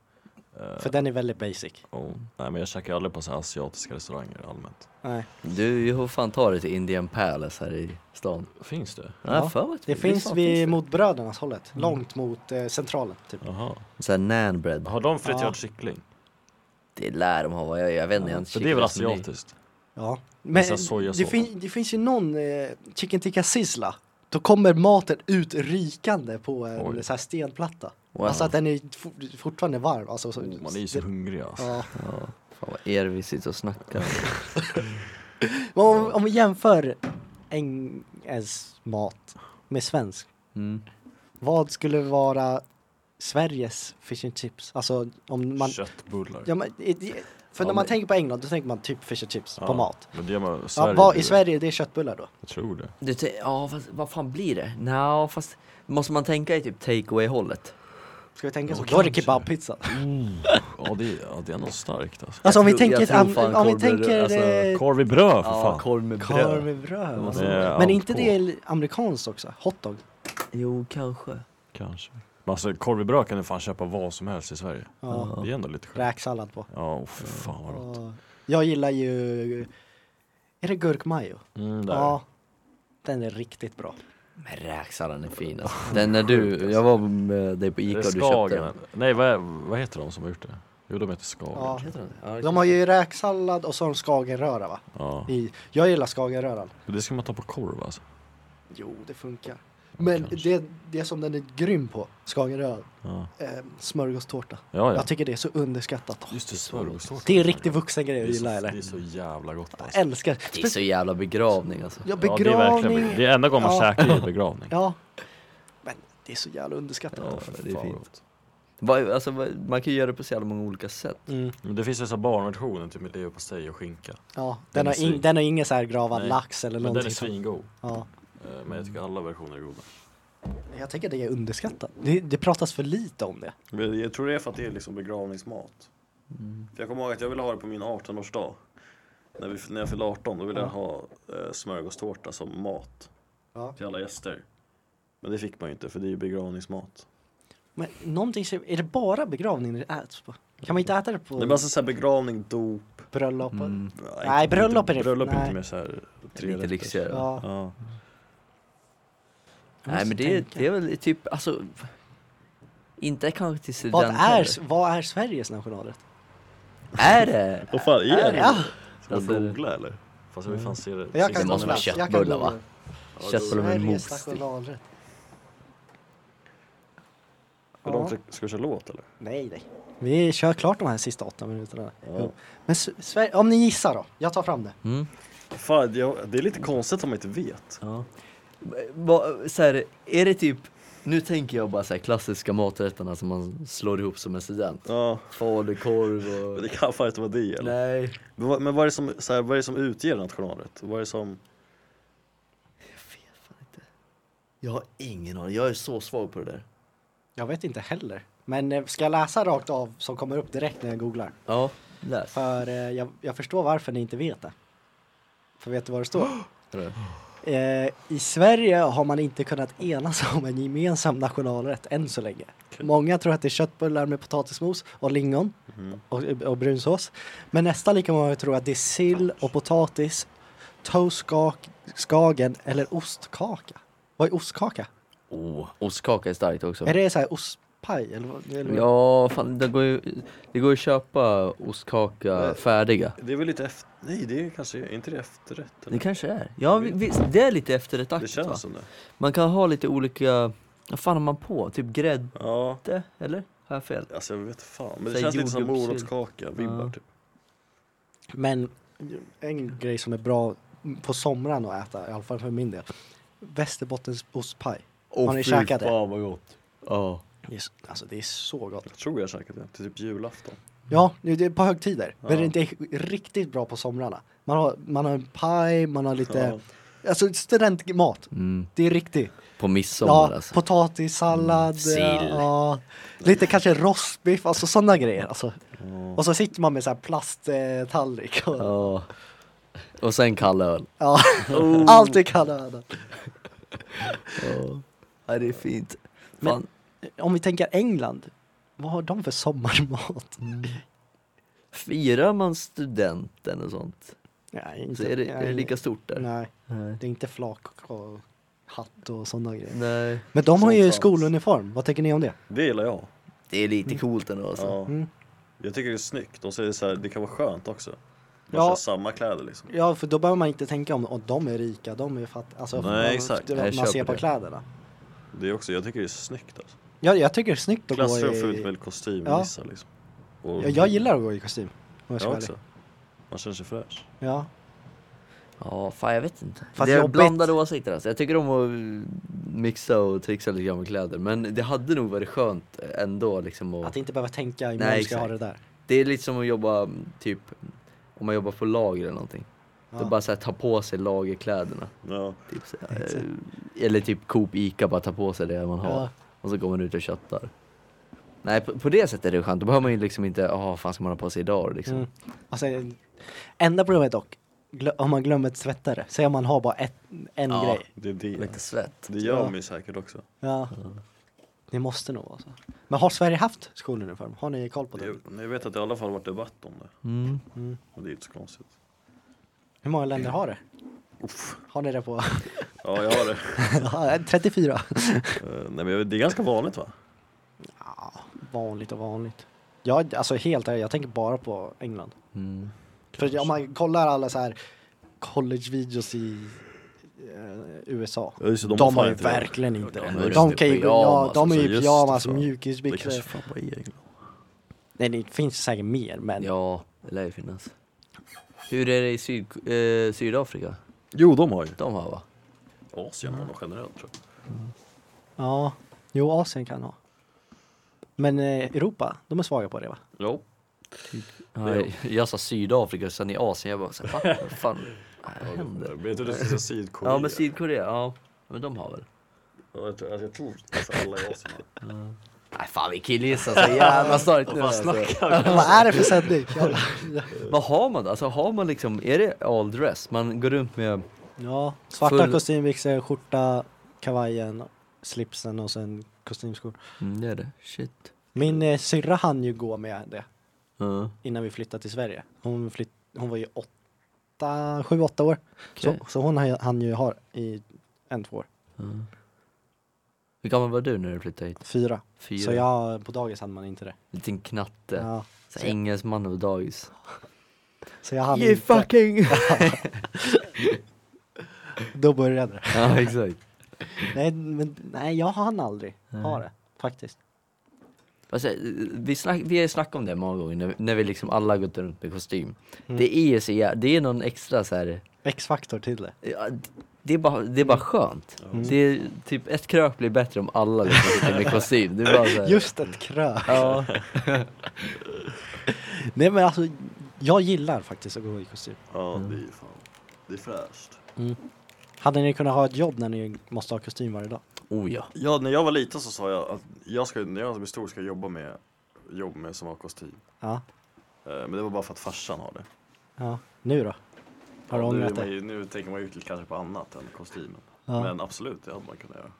Speaker 5: Eh,
Speaker 1: För den är väldigt basic.
Speaker 5: oh. Nej men jag käkar aldrig på så här asiatiska restauranger allmänt.
Speaker 1: Nej.
Speaker 3: Du, hur fan tar det till Indian Palace här i stan?
Speaker 5: Finns det?
Speaker 1: Ja,
Speaker 3: fan, vad
Speaker 1: Det
Speaker 3: trevligt.
Speaker 1: finns
Speaker 3: Fan,
Speaker 1: vid,
Speaker 3: det?
Speaker 1: mot brödernas hållet. Långt mot eh, centralen, typ.
Speaker 5: Jaha.
Speaker 3: Såhär nan bread.
Speaker 5: Har de friterad
Speaker 1: Ja.
Speaker 5: kyckling?
Speaker 3: Det lär de ha vad jag, jag vet inte. jag har inte
Speaker 5: Så det är väl
Speaker 3: kikat på menyn.
Speaker 5: asiatiskt?
Speaker 1: Ja. Men
Speaker 5: så här sojasås.
Speaker 1: det, fin- det finns ju någon eh, chicken tikka sizzla. Då kommer maten ut rikande på en
Speaker 5: Oj.
Speaker 1: så här stenplatta.
Speaker 3: Wow.
Speaker 1: Alltså att den är for- fortfarande varm. Alltså, så,
Speaker 2: Mm,
Speaker 5: Oh, man är ju så hungrig alltså.
Speaker 1: ja.
Speaker 3: Ja, fan vad er vi sitter och snackar om.
Speaker 1: Men om, om vi jämför engelsk mat med svensk.
Speaker 3: Mm.
Speaker 1: Vad skulle vara Sveriges fish and chips? Alltså om man...
Speaker 5: Köttbullar.
Speaker 1: Ja, men, i- i- för när
Speaker 5: Ja,
Speaker 1: man
Speaker 5: men-
Speaker 1: tänker på England då tänker man typ fish and chips på
Speaker 5: Ja,
Speaker 1: mat.
Speaker 5: Men det gör man
Speaker 1: Ja,
Speaker 5: Sverige,
Speaker 1: vad,
Speaker 5: blir
Speaker 1: I
Speaker 5: det.
Speaker 1: Sverige det är köttbullar då?
Speaker 5: Jag tror det.
Speaker 3: Du, tän- ja fast vad fan blir det? Nja fast måste man tänka i typ takeaway hållet?
Speaker 1: Ska vi tänka så?
Speaker 5: Ja,
Speaker 1: Då är det
Speaker 5: kanske.
Speaker 1: kebabpizza. Mm.
Speaker 5: Ja det, är- ja, det är ändå starkt alltså.
Speaker 1: Alltså om vi
Speaker 3: tror- jag
Speaker 1: tänker...
Speaker 3: tror
Speaker 1: Om,
Speaker 3: fan
Speaker 1: om vi
Speaker 3: korv blir-
Speaker 1: tänker...
Speaker 3: alltså,
Speaker 1: eh,
Speaker 5: Korv i bröd för fan.
Speaker 3: korv med
Speaker 1: Korv med bröd. Alltså.
Speaker 5: Det är
Speaker 1: Men
Speaker 5: allt
Speaker 1: är inte
Speaker 5: på.
Speaker 1: det är amerikanskt också? Hotdog?
Speaker 3: Jo kanske.
Speaker 5: Kanske. Men alltså korv i bröd kan du fan köpa vad som helst i Sverige.
Speaker 1: Ja.
Speaker 5: Det är ändå lite skönt.
Speaker 1: Räksallad på.
Speaker 5: Ja, oh, fy fan vad gott.
Speaker 1: Ja. Jag gillar ju... Är det gurkmajo?
Speaker 5: Mm, där.
Speaker 1: Ja. Den är riktigt bra.
Speaker 3: Men räksalladen är fin alltså. Den när du, jag var med dig på
Speaker 5: Är
Speaker 3: Ica
Speaker 5: det
Speaker 3: och du köpte den.
Speaker 5: Skagen? Nej, vad, är, vad heter de som har gjort det? Jo, de heter Skagen. Ja.
Speaker 1: Ja.
Speaker 3: Heter den det? Ja,
Speaker 1: De har ju räksallad och så har de skagenröra va? I, jag gillar skagenröran.
Speaker 5: Men Det ska man ta på korv alltså.
Speaker 1: Jo, det funkar. Men
Speaker 5: kanske.
Speaker 1: det, det som den är grym på, skagenröran,
Speaker 5: Ja,
Speaker 1: eh, smörgåstårta.
Speaker 5: ja. ja.
Speaker 1: Jag tycker det är så underskattat.
Speaker 5: Just det, smörgåstårta.
Speaker 1: Det är en riktig vuxen grej
Speaker 5: Det är
Speaker 1: att
Speaker 5: så-
Speaker 1: gilla
Speaker 5: Det
Speaker 1: eller?
Speaker 5: är så jävla gott alltså.
Speaker 1: Älskar.
Speaker 3: Det är så jävla begravning alltså.
Speaker 1: Ja,
Speaker 5: Ja, det är verkligen,
Speaker 1: begravning.
Speaker 5: det är enda gången man
Speaker 1: Ja.
Speaker 5: käkar i en begravning.
Speaker 1: Ja. Men Det är så jävla underskattat.
Speaker 3: Ja,
Speaker 7: det är
Speaker 2: Fan,
Speaker 7: fint.
Speaker 2: gott.
Speaker 3: Vad- Alltså, vad- man kan ju göra det på så jävla många olika sätt.
Speaker 1: Mm.
Speaker 5: Men det finns ju så här barnversionen typ med leverpastej och skinka.
Speaker 1: Ja,
Speaker 5: Den
Speaker 1: den,
Speaker 5: är
Speaker 1: har in,
Speaker 5: svin.
Speaker 1: den har ingen så här gravad
Speaker 5: Nej,
Speaker 1: lax eller
Speaker 5: Men den är
Speaker 1: någonting. sånt.
Speaker 5: svingod.
Speaker 1: ja.
Speaker 5: Eh, Men jag tycker alla versioner är goda.
Speaker 1: Jag tänker det är underskattat. Det, det pratas för lite om det.
Speaker 2: Men Jag tror det är för att det är liksom begravningsmat.
Speaker 3: Mm.
Speaker 2: För jag kommer ihåg att jag ville ha det på min 18-årsdag. När, vi, när jag fyllde 18 då ville jag ha eh, smörgåstårta som mat
Speaker 1: Ja.
Speaker 2: till alla gäster. Men det fick man ju inte för det är ju begravningsmat.
Speaker 1: Men någonting, som- är det bara begravningen det äts på? Kan man inte äta det på
Speaker 2: Det är
Speaker 5: alltså-
Speaker 2: bara så här begravning, dop.
Speaker 1: bröllop?
Speaker 3: Mm.
Speaker 1: Nej,
Speaker 2: inte-
Speaker 1: bröllop är det-
Speaker 2: Bröllop är
Speaker 1: nej.
Speaker 2: lite mer såhär tre
Speaker 3: Lite
Speaker 2: rätter.
Speaker 3: lyxigare. va?
Speaker 1: Ja.
Speaker 2: Ja.
Speaker 1: jag
Speaker 3: Nej
Speaker 1: måste
Speaker 3: men det,
Speaker 1: tänka.
Speaker 3: det är väl typ, alltså inte kanske till studenter.
Speaker 1: vad, är, vad är Sveriges nationalrätt?
Speaker 3: Är det?
Speaker 2: Vad fan är det?
Speaker 1: Ja,
Speaker 2: Ska man
Speaker 3: Alltså-
Speaker 2: googla eller?
Speaker 5: Fast jag vill fan se det.
Speaker 1: jag
Speaker 5: se
Speaker 1: kan
Speaker 5: det.
Speaker 3: måste
Speaker 1: googla.
Speaker 3: vara
Speaker 1: Jag kan
Speaker 3: köttbullar, va?
Speaker 1: googla.
Speaker 3: Köttbullar med
Speaker 1: Sveriges
Speaker 3: mos. typ.
Speaker 1: nationalrätt.
Speaker 2: Hur långt ska- Ska vi köra låt eller?
Speaker 1: Nej, nej. Vi kör klart de här sista åtta minuterna.
Speaker 2: Ja.
Speaker 1: Men S- Sverige, om ni gissar då? Jag tar fram det.
Speaker 3: Mm.
Speaker 2: Fan, jag, det är lite konstigt om man inte vet.
Speaker 3: Ja. Va, så här, är det typ, nu tänker jag bara så här klassiska maträtterna som man slår ihop som en student.
Speaker 2: Ja,
Speaker 3: Falukorv
Speaker 2: men
Speaker 3: och...
Speaker 2: det kan fan inte vara det eller?
Speaker 3: Nej.
Speaker 2: Men vad, men vad är det som, så här, vad är det som utger nationalrätt? Vad är det som,
Speaker 3: Jag vet fan inte. Jag har ingen aning, jag är så svag på det där.
Speaker 1: Jag vet inte heller. Men eh, ska jag läsa rakt av som kommer upp direkt när jag googlar?
Speaker 3: Ja, läs.
Speaker 1: För eh, jag, jag förstår varför ni inte vet det. För vet du vad det står?
Speaker 3: Eller?
Speaker 1: Eh, I Sverige har man inte kunnat enas om en gemensam nationalrätt än så länge. Många tror att det är köttbullar med potatismos och lingon och, och brunsås. Men nästan lika många tror att det är sill och potatis, toastskagen eller ostkaka. Vad är ostkaka?
Speaker 3: Oh, ostkaka är starkt också.
Speaker 1: Är det så här ostpaj? Eller, vad- eller, vad?
Speaker 3: Ja, fan, det går ju det går ju att köpa ostkaka
Speaker 2: Nej.
Speaker 3: färdiga.
Speaker 2: det är väl lite efter, nej det är kanske, är inte det efterrätt?
Speaker 3: Det
Speaker 2: Eller?
Speaker 3: kanske är. Ja, vi- visst, det är lite
Speaker 2: Det
Speaker 3: efterrättaktigt va?
Speaker 2: känns som det.
Speaker 3: Man kan ha lite olika, vad fan har man på? Typ grädde,
Speaker 2: Ja,
Speaker 3: eller? Har jag fel?
Speaker 2: alltså jag vet fan. Men det
Speaker 3: Så här
Speaker 2: känns lite som
Speaker 3: jordgubbssylt.
Speaker 2: morotskaka, vibbar
Speaker 3: Ja.
Speaker 2: typ.
Speaker 1: Men en grej som är bra på somran att äta, i alla fall för min del. Västerbottens ostpaj. Har ni käkat det?
Speaker 2: vad gott.
Speaker 3: Ja.
Speaker 1: Det är, s- alltså det är så gott.
Speaker 2: Jag tror jag har käkat det, till typ julafton.
Speaker 1: Ja, nu, det är på högtider.
Speaker 2: Ja.
Speaker 1: Men det är riktigt bra på somrarna. Man har, man har en paj, man har lite, alltså studentmat.
Speaker 3: Mm.
Speaker 1: Det är riktigt.
Speaker 3: På midsommar
Speaker 1: Ja,
Speaker 3: alltså.
Speaker 1: potatissallad,
Speaker 3: Mm, sill.
Speaker 1: ja, lite kanske rostbiff, alltså sådana grejer. Alltså. Och så sitter man med så här plasttallrik. Och, ja.
Speaker 3: Ja. Och sen kall öl. Oh.
Speaker 1: Allt är kallöden.
Speaker 3: Ja. det är fint.
Speaker 1: Men-
Speaker 3: Fan,
Speaker 1: Om vi tänker England, vad har de för sommarmat?
Speaker 3: firar man studenten och sånt?
Speaker 1: Nej,
Speaker 3: Så
Speaker 1: inte,
Speaker 3: är, det, är det lika stort där?
Speaker 1: Nej,
Speaker 3: Nej.
Speaker 1: det är inte flak och hatt och sådana grejer.
Speaker 3: Nej.
Speaker 1: Men de har
Speaker 2: Sånt
Speaker 1: ju
Speaker 2: fanns.
Speaker 1: skoluniform, vad tänker ni om det?
Speaker 2: Det gillar jag.
Speaker 3: Det är lite coolt ändå alltså.
Speaker 2: Ja.
Speaker 1: Mm.
Speaker 2: Jag tycker det är snyggt och så är det så här, det kan vara skönt också. Man
Speaker 1: Ja.
Speaker 2: kör samma kläder liksom.
Speaker 1: Ja, för då behöver man inte tänka om att de är rika, de är fattiga. Alltså,
Speaker 2: Nej,
Speaker 1: man-
Speaker 2: exakt.
Speaker 1: det-
Speaker 3: Nej, jag
Speaker 1: man ser
Speaker 3: köper
Speaker 1: på
Speaker 3: det.
Speaker 1: kläderna.
Speaker 2: Det är också, jag tycker det är snyggt alltså.
Speaker 1: Ja, jag tycker det är snyggt att
Speaker 2: Klassrum
Speaker 1: gå
Speaker 2: fullt
Speaker 1: i...
Speaker 2: med kostym
Speaker 1: Ja.
Speaker 2: ja. liksom. Och,
Speaker 1: Ja, jag gillar att gå i kostym. Om jag
Speaker 2: det
Speaker 1: ska
Speaker 2: jag
Speaker 1: vara
Speaker 2: också. Man känner sig fräsch.
Speaker 1: ärlig. Ja.
Speaker 3: Ja, fan jag vet inte.
Speaker 1: Fast
Speaker 3: det är
Speaker 1: jobbigt.
Speaker 3: blandade åsikter alltså. Jag tycker om att mixa och trixa lite grann med kläder. Men det hade nog varit skönt ändå liksom att...
Speaker 1: Att inte behöva tänka, imorgon
Speaker 3: Nej,
Speaker 1: ska jag ha det
Speaker 3: exakt.
Speaker 1: där.
Speaker 3: Det är lite som att jobba mm, typ, om man jobbar på lager eller någonting.
Speaker 1: Ja.
Speaker 3: Då bara såhär ta på sig lagerkläderna.
Speaker 2: Ja.
Speaker 3: Typ, så här, eh, eller typ Coop, Ica, bara ta på sig det man har.
Speaker 1: Ja.
Speaker 3: Och så går man ut och köttar. Nej, på, på det sättet är det skönt. Då behöver man ju liksom inte, jaha, vad fan ska man ha på sig idag liksom.
Speaker 1: Mm. Alltså, enda problemet dock, glö- om man glömmer ett tvättare. Säg om man har bara ett, en
Speaker 3: Ja.
Speaker 1: grej.
Speaker 2: Det är
Speaker 3: Lite
Speaker 2: det.
Speaker 3: svett.
Speaker 2: Det gör
Speaker 1: Ja.
Speaker 2: man ju säkert också.
Speaker 1: Ja. Det måste nog vara så. Men har Sverige haft skoluniform? Har ni koll på det?
Speaker 2: Jag, jag vet att det i alla fall varit debatt om det.
Speaker 3: Mm.
Speaker 2: Och det är inte så konstigt.
Speaker 1: Hur många länder har det?
Speaker 2: Uff.
Speaker 1: Har ni det på?
Speaker 2: Ja, jag har det.
Speaker 1: Ja, 34.
Speaker 2: Eh, Nej, men jag vet- det är ganska vanligt va?
Speaker 1: Ja, vanligt och vanligt. Jag, alltså helt ärligt, jag tänker bara på England.
Speaker 3: Mm.
Speaker 1: För om man kollar alla så här college-videos i eh, USA.
Speaker 2: Ja, just det,
Speaker 1: De,
Speaker 2: de har
Speaker 1: har
Speaker 2: fan
Speaker 1: ju
Speaker 2: inte det.
Speaker 1: verkligen inte
Speaker 2: Ja,
Speaker 1: det.
Speaker 2: men just
Speaker 1: de,
Speaker 3: det,
Speaker 1: kan ju, ja, de
Speaker 3: pyjamas
Speaker 1: är
Speaker 2: och
Speaker 1: ju
Speaker 2: så, alltså,
Speaker 1: pyjamas,
Speaker 2: just det, fan. Det
Speaker 1: mjukisbyxor.
Speaker 2: kanske fan bara är England.
Speaker 1: Nej, det finns säkert mer, men
Speaker 3: Ja, det lär ju finnas. Hur är det i syd, eh, Sydafrika?
Speaker 2: Jo, de har ju.
Speaker 3: De har va?
Speaker 2: Asien har de generellt tror jag.
Speaker 1: ja. Jo, Asien kan ha. Men eh, Europa, de är svaga på det va?
Speaker 2: Jo.
Speaker 3: Jag, jag sa Sydafrika, sen i Asien, jag bara så här, "Va? vad fan händer?
Speaker 2: Vet du, du skulle säga Sydkorea.
Speaker 3: Ja men Sydkorea, ja. Men de har väl?
Speaker 2: Ja, jag tror, alltså, jag tror alltså, alla i Asien har.
Speaker 3: Nej fan vi killgissar så jävla starkt nu
Speaker 2: Vad
Speaker 3: alltså.
Speaker 2: snackar
Speaker 1: Vad är det för sändning?
Speaker 3: Vad har man då? Alltså har man liksom, är det all dress? Man går runt med,
Speaker 1: Ja, svarta
Speaker 3: Full-
Speaker 1: kostymbyxor, skjorta, kavajen, slipsen och sen kostymskor.
Speaker 3: mm, det är det, shit.
Speaker 1: Min eh, syrra hann ju gå med det
Speaker 3: Ja.
Speaker 1: innan vi flyttade till Sverige. Hon, flytt, hon var ju åtta, sju, åtta år.
Speaker 3: Okej.
Speaker 1: Så, så hon hann- hann ju ha i en, två år.
Speaker 3: Hur gammal var du när du flyttade hit?
Speaker 1: Fyra.
Speaker 3: Fyra?
Speaker 1: Så jag, på dagis hann man inte det.
Speaker 3: Liten knatte.
Speaker 1: Ja,
Speaker 3: Så engelsman över dagis.
Speaker 1: så jag hann
Speaker 3: You
Speaker 1: inte.
Speaker 3: fucking!
Speaker 1: Då började det.
Speaker 3: ja exakt.
Speaker 1: Nej, men, nej jag hann aldrig ha det. Faktiskt.
Speaker 3: Alltså, vi, snack, vi har ju snackat om det många gånger när, när vi liksom alla har gått runt med kostym.
Speaker 1: Mm.
Speaker 3: Det är ju så jä- det är någon extra så här.
Speaker 1: X-faktor till det.
Speaker 3: Ja, d- det är bara, det är
Speaker 1: Mm.
Speaker 3: bara skönt. Det är typ ett krök blir bättre om alla liksom sitter med kostym. Det är bara så här,
Speaker 1: Just ett krö.
Speaker 3: Ja,
Speaker 1: Nej men alltså, jag gillar faktiskt att gå i kostym.
Speaker 2: Ja, det är ju fan. Det är fräscht.
Speaker 1: Hade ni kunnat ha ett jobb när ni måste ha kostym varje dag?
Speaker 3: oh ja.
Speaker 2: Ja, när jag var liten så sa jag att jag ska, när jag blir stor ska jag jobba med, jobb med som har kostym.
Speaker 1: Ja.
Speaker 2: Eh, Men det var bara för att farsan har det.
Speaker 1: ja. Nu då? Har du
Speaker 2: Ja, nu, är
Speaker 1: ångrat
Speaker 2: man
Speaker 1: dig?
Speaker 2: ju, nu tänker man ju lite kanske på annat än kostymen.
Speaker 1: Ja.
Speaker 2: Men absolut, det hade man kunnat göra.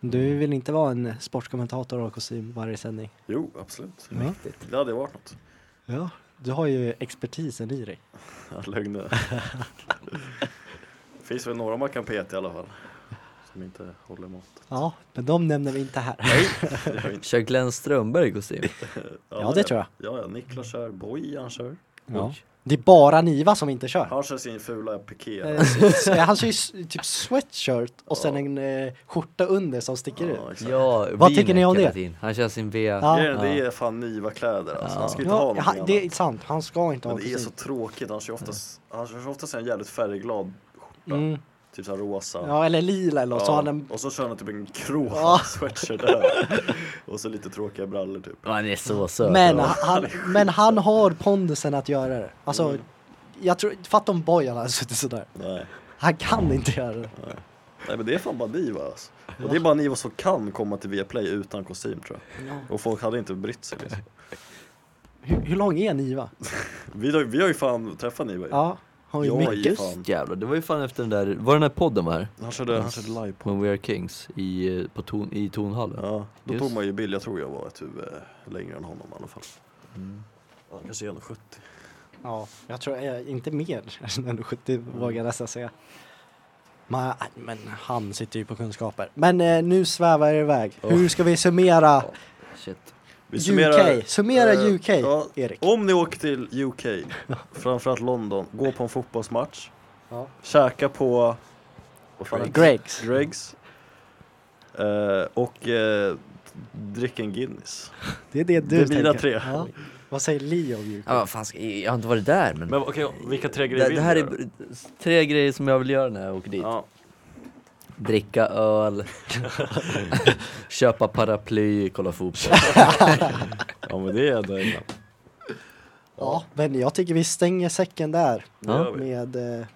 Speaker 1: Du vill inte vara en sportkommentator och ha kostym varje sändning?
Speaker 2: Jo, absolut.
Speaker 1: Ja.
Speaker 2: Det hade ju varit något.
Speaker 1: ja. Du har ju expertisen i dig.
Speaker 2: Ja, Lögner. Det finns väl några man kan peta i alla fall. Som inte håller måttet.
Speaker 1: Ja, men de nämner vi inte här.
Speaker 3: Kör Glenn Strömberg i kostym?
Speaker 1: Ja, det tror jag.
Speaker 2: Ja, ja. Niklas kör, Bojan kör.
Speaker 1: Ja. Det är bara Niva som inte kör.
Speaker 2: Han kör sin fula piké.
Speaker 1: Eh, s- Han kör ju s- typ sweatshirt och sen en eh, skjorta under som sticker ut.
Speaker 2: Ja, exakt.
Speaker 3: Ja,
Speaker 1: Vad tycker ni om
Speaker 3: V-neck hela
Speaker 1: det?
Speaker 3: tiden. Han kör sin V.
Speaker 1: Ja.
Speaker 2: Det är- Det är fan Niva-kläder alltså. Han ska inte ha
Speaker 1: Ja,
Speaker 2: någonting
Speaker 1: han,
Speaker 2: annat.
Speaker 1: det Mm. är sant, han ska inte
Speaker 2: Men
Speaker 1: ha
Speaker 2: det är
Speaker 1: kostym.
Speaker 2: så tråkigt. Han kör oftast, han kör oftast en jävligt färgglad skjorta.
Speaker 1: Mm.
Speaker 2: Typ såhär rosa.
Speaker 1: Ja, eller lila eller något, så
Speaker 2: Ja,
Speaker 1: har han en
Speaker 2: Och så kör han typ en grå
Speaker 1: Ja.
Speaker 2: sweatshirt där. Och så lite tråkiga brallor typ.
Speaker 3: Ja, Han är så söt.
Speaker 1: Men han, men han har pondusen att göra det.
Speaker 2: Mm.
Speaker 1: Alltså, jag tror, fatta om Bojan hade suttit sådär.
Speaker 2: Nej.
Speaker 1: Han kan inte göra det.
Speaker 2: Nej men det är fan bara Niva alltså. Och det är bara Niva som kan komma till Viaplay utan kostym tror
Speaker 1: Ja.
Speaker 2: jag. Och folk hade inte brytt sig liksom.
Speaker 1: Hur, hur lång är Niva?
Speaker 2: Vi har, vi har ju fan träffat Niva ju.
Speaker 1: Ja, har ju
Speaker 2: typ. Jag är
Speaker 1: mycket.
Speaker 2: ju fan.
Speaker 3: Jävlar, det var ju fan efter den där, var den där podden var här?
Speaker 2: Han körde, han körde live på.
Speaker 3: På We Are Kings i, eh, på ton, i tonhallen?
Speaker 2: Ja, då
Speaker 3: Just.
Speaker 2: tog man ju bild. Jag tror jag var ett huvud längre än honom i alla fall.
Speaker 3: Mm.
Speaker 2: Ja, kanske 1,70.
Speaker 1: Ja, jag tror eh, inte mer än 70 vågar jag nästan säga. Men, men han sitter ju på kunskaper. Men eh, nu svävar jag iväg. Hur ska vi summera
Speaker 3: Shit.
Speaker 2: Vi
Speaker 1: UK?
Speaker 2: summerar-
Speaker 1: Summera
Speaker 2: eh,
Speaker 1: UK,
Speaker 2: ja,
Speaker 1: Erik.
Speaker 2: Om ni åker till UK, framförallt London, gå på en fotbollsmatch,
Speaker 1: Ja.
Speaker 2: käka på vad fan heter det?
Speaker 1: Gregs.
Speaker 2: Greggs eh, och eh, drick en Guinness.
Speaker 1: Det är det du
Speaker 2: Det är mina
Speaker 1: tänker.
Speaker 2: tre.
Speaker 1: Ja. Vad säger Leo? om UK?
Speaker 3: Ja, vad fan ska, jag har inte varit där men.
Speaker 2: Men okej, vilka tre
Speaker 3: det, det här är b- tre grejer som jag vill göra när jag åker dit.
Speaker 2: Ja,
Speaker 3: Dricka öl, köpa paraply, kolla fotboll.
Speaker 2: ja men det är ändå innan.
Speaker 1: Ja, men jag tycker vi stänger säcken där
Speaker 2: Ja.
Speaker 1: med eh,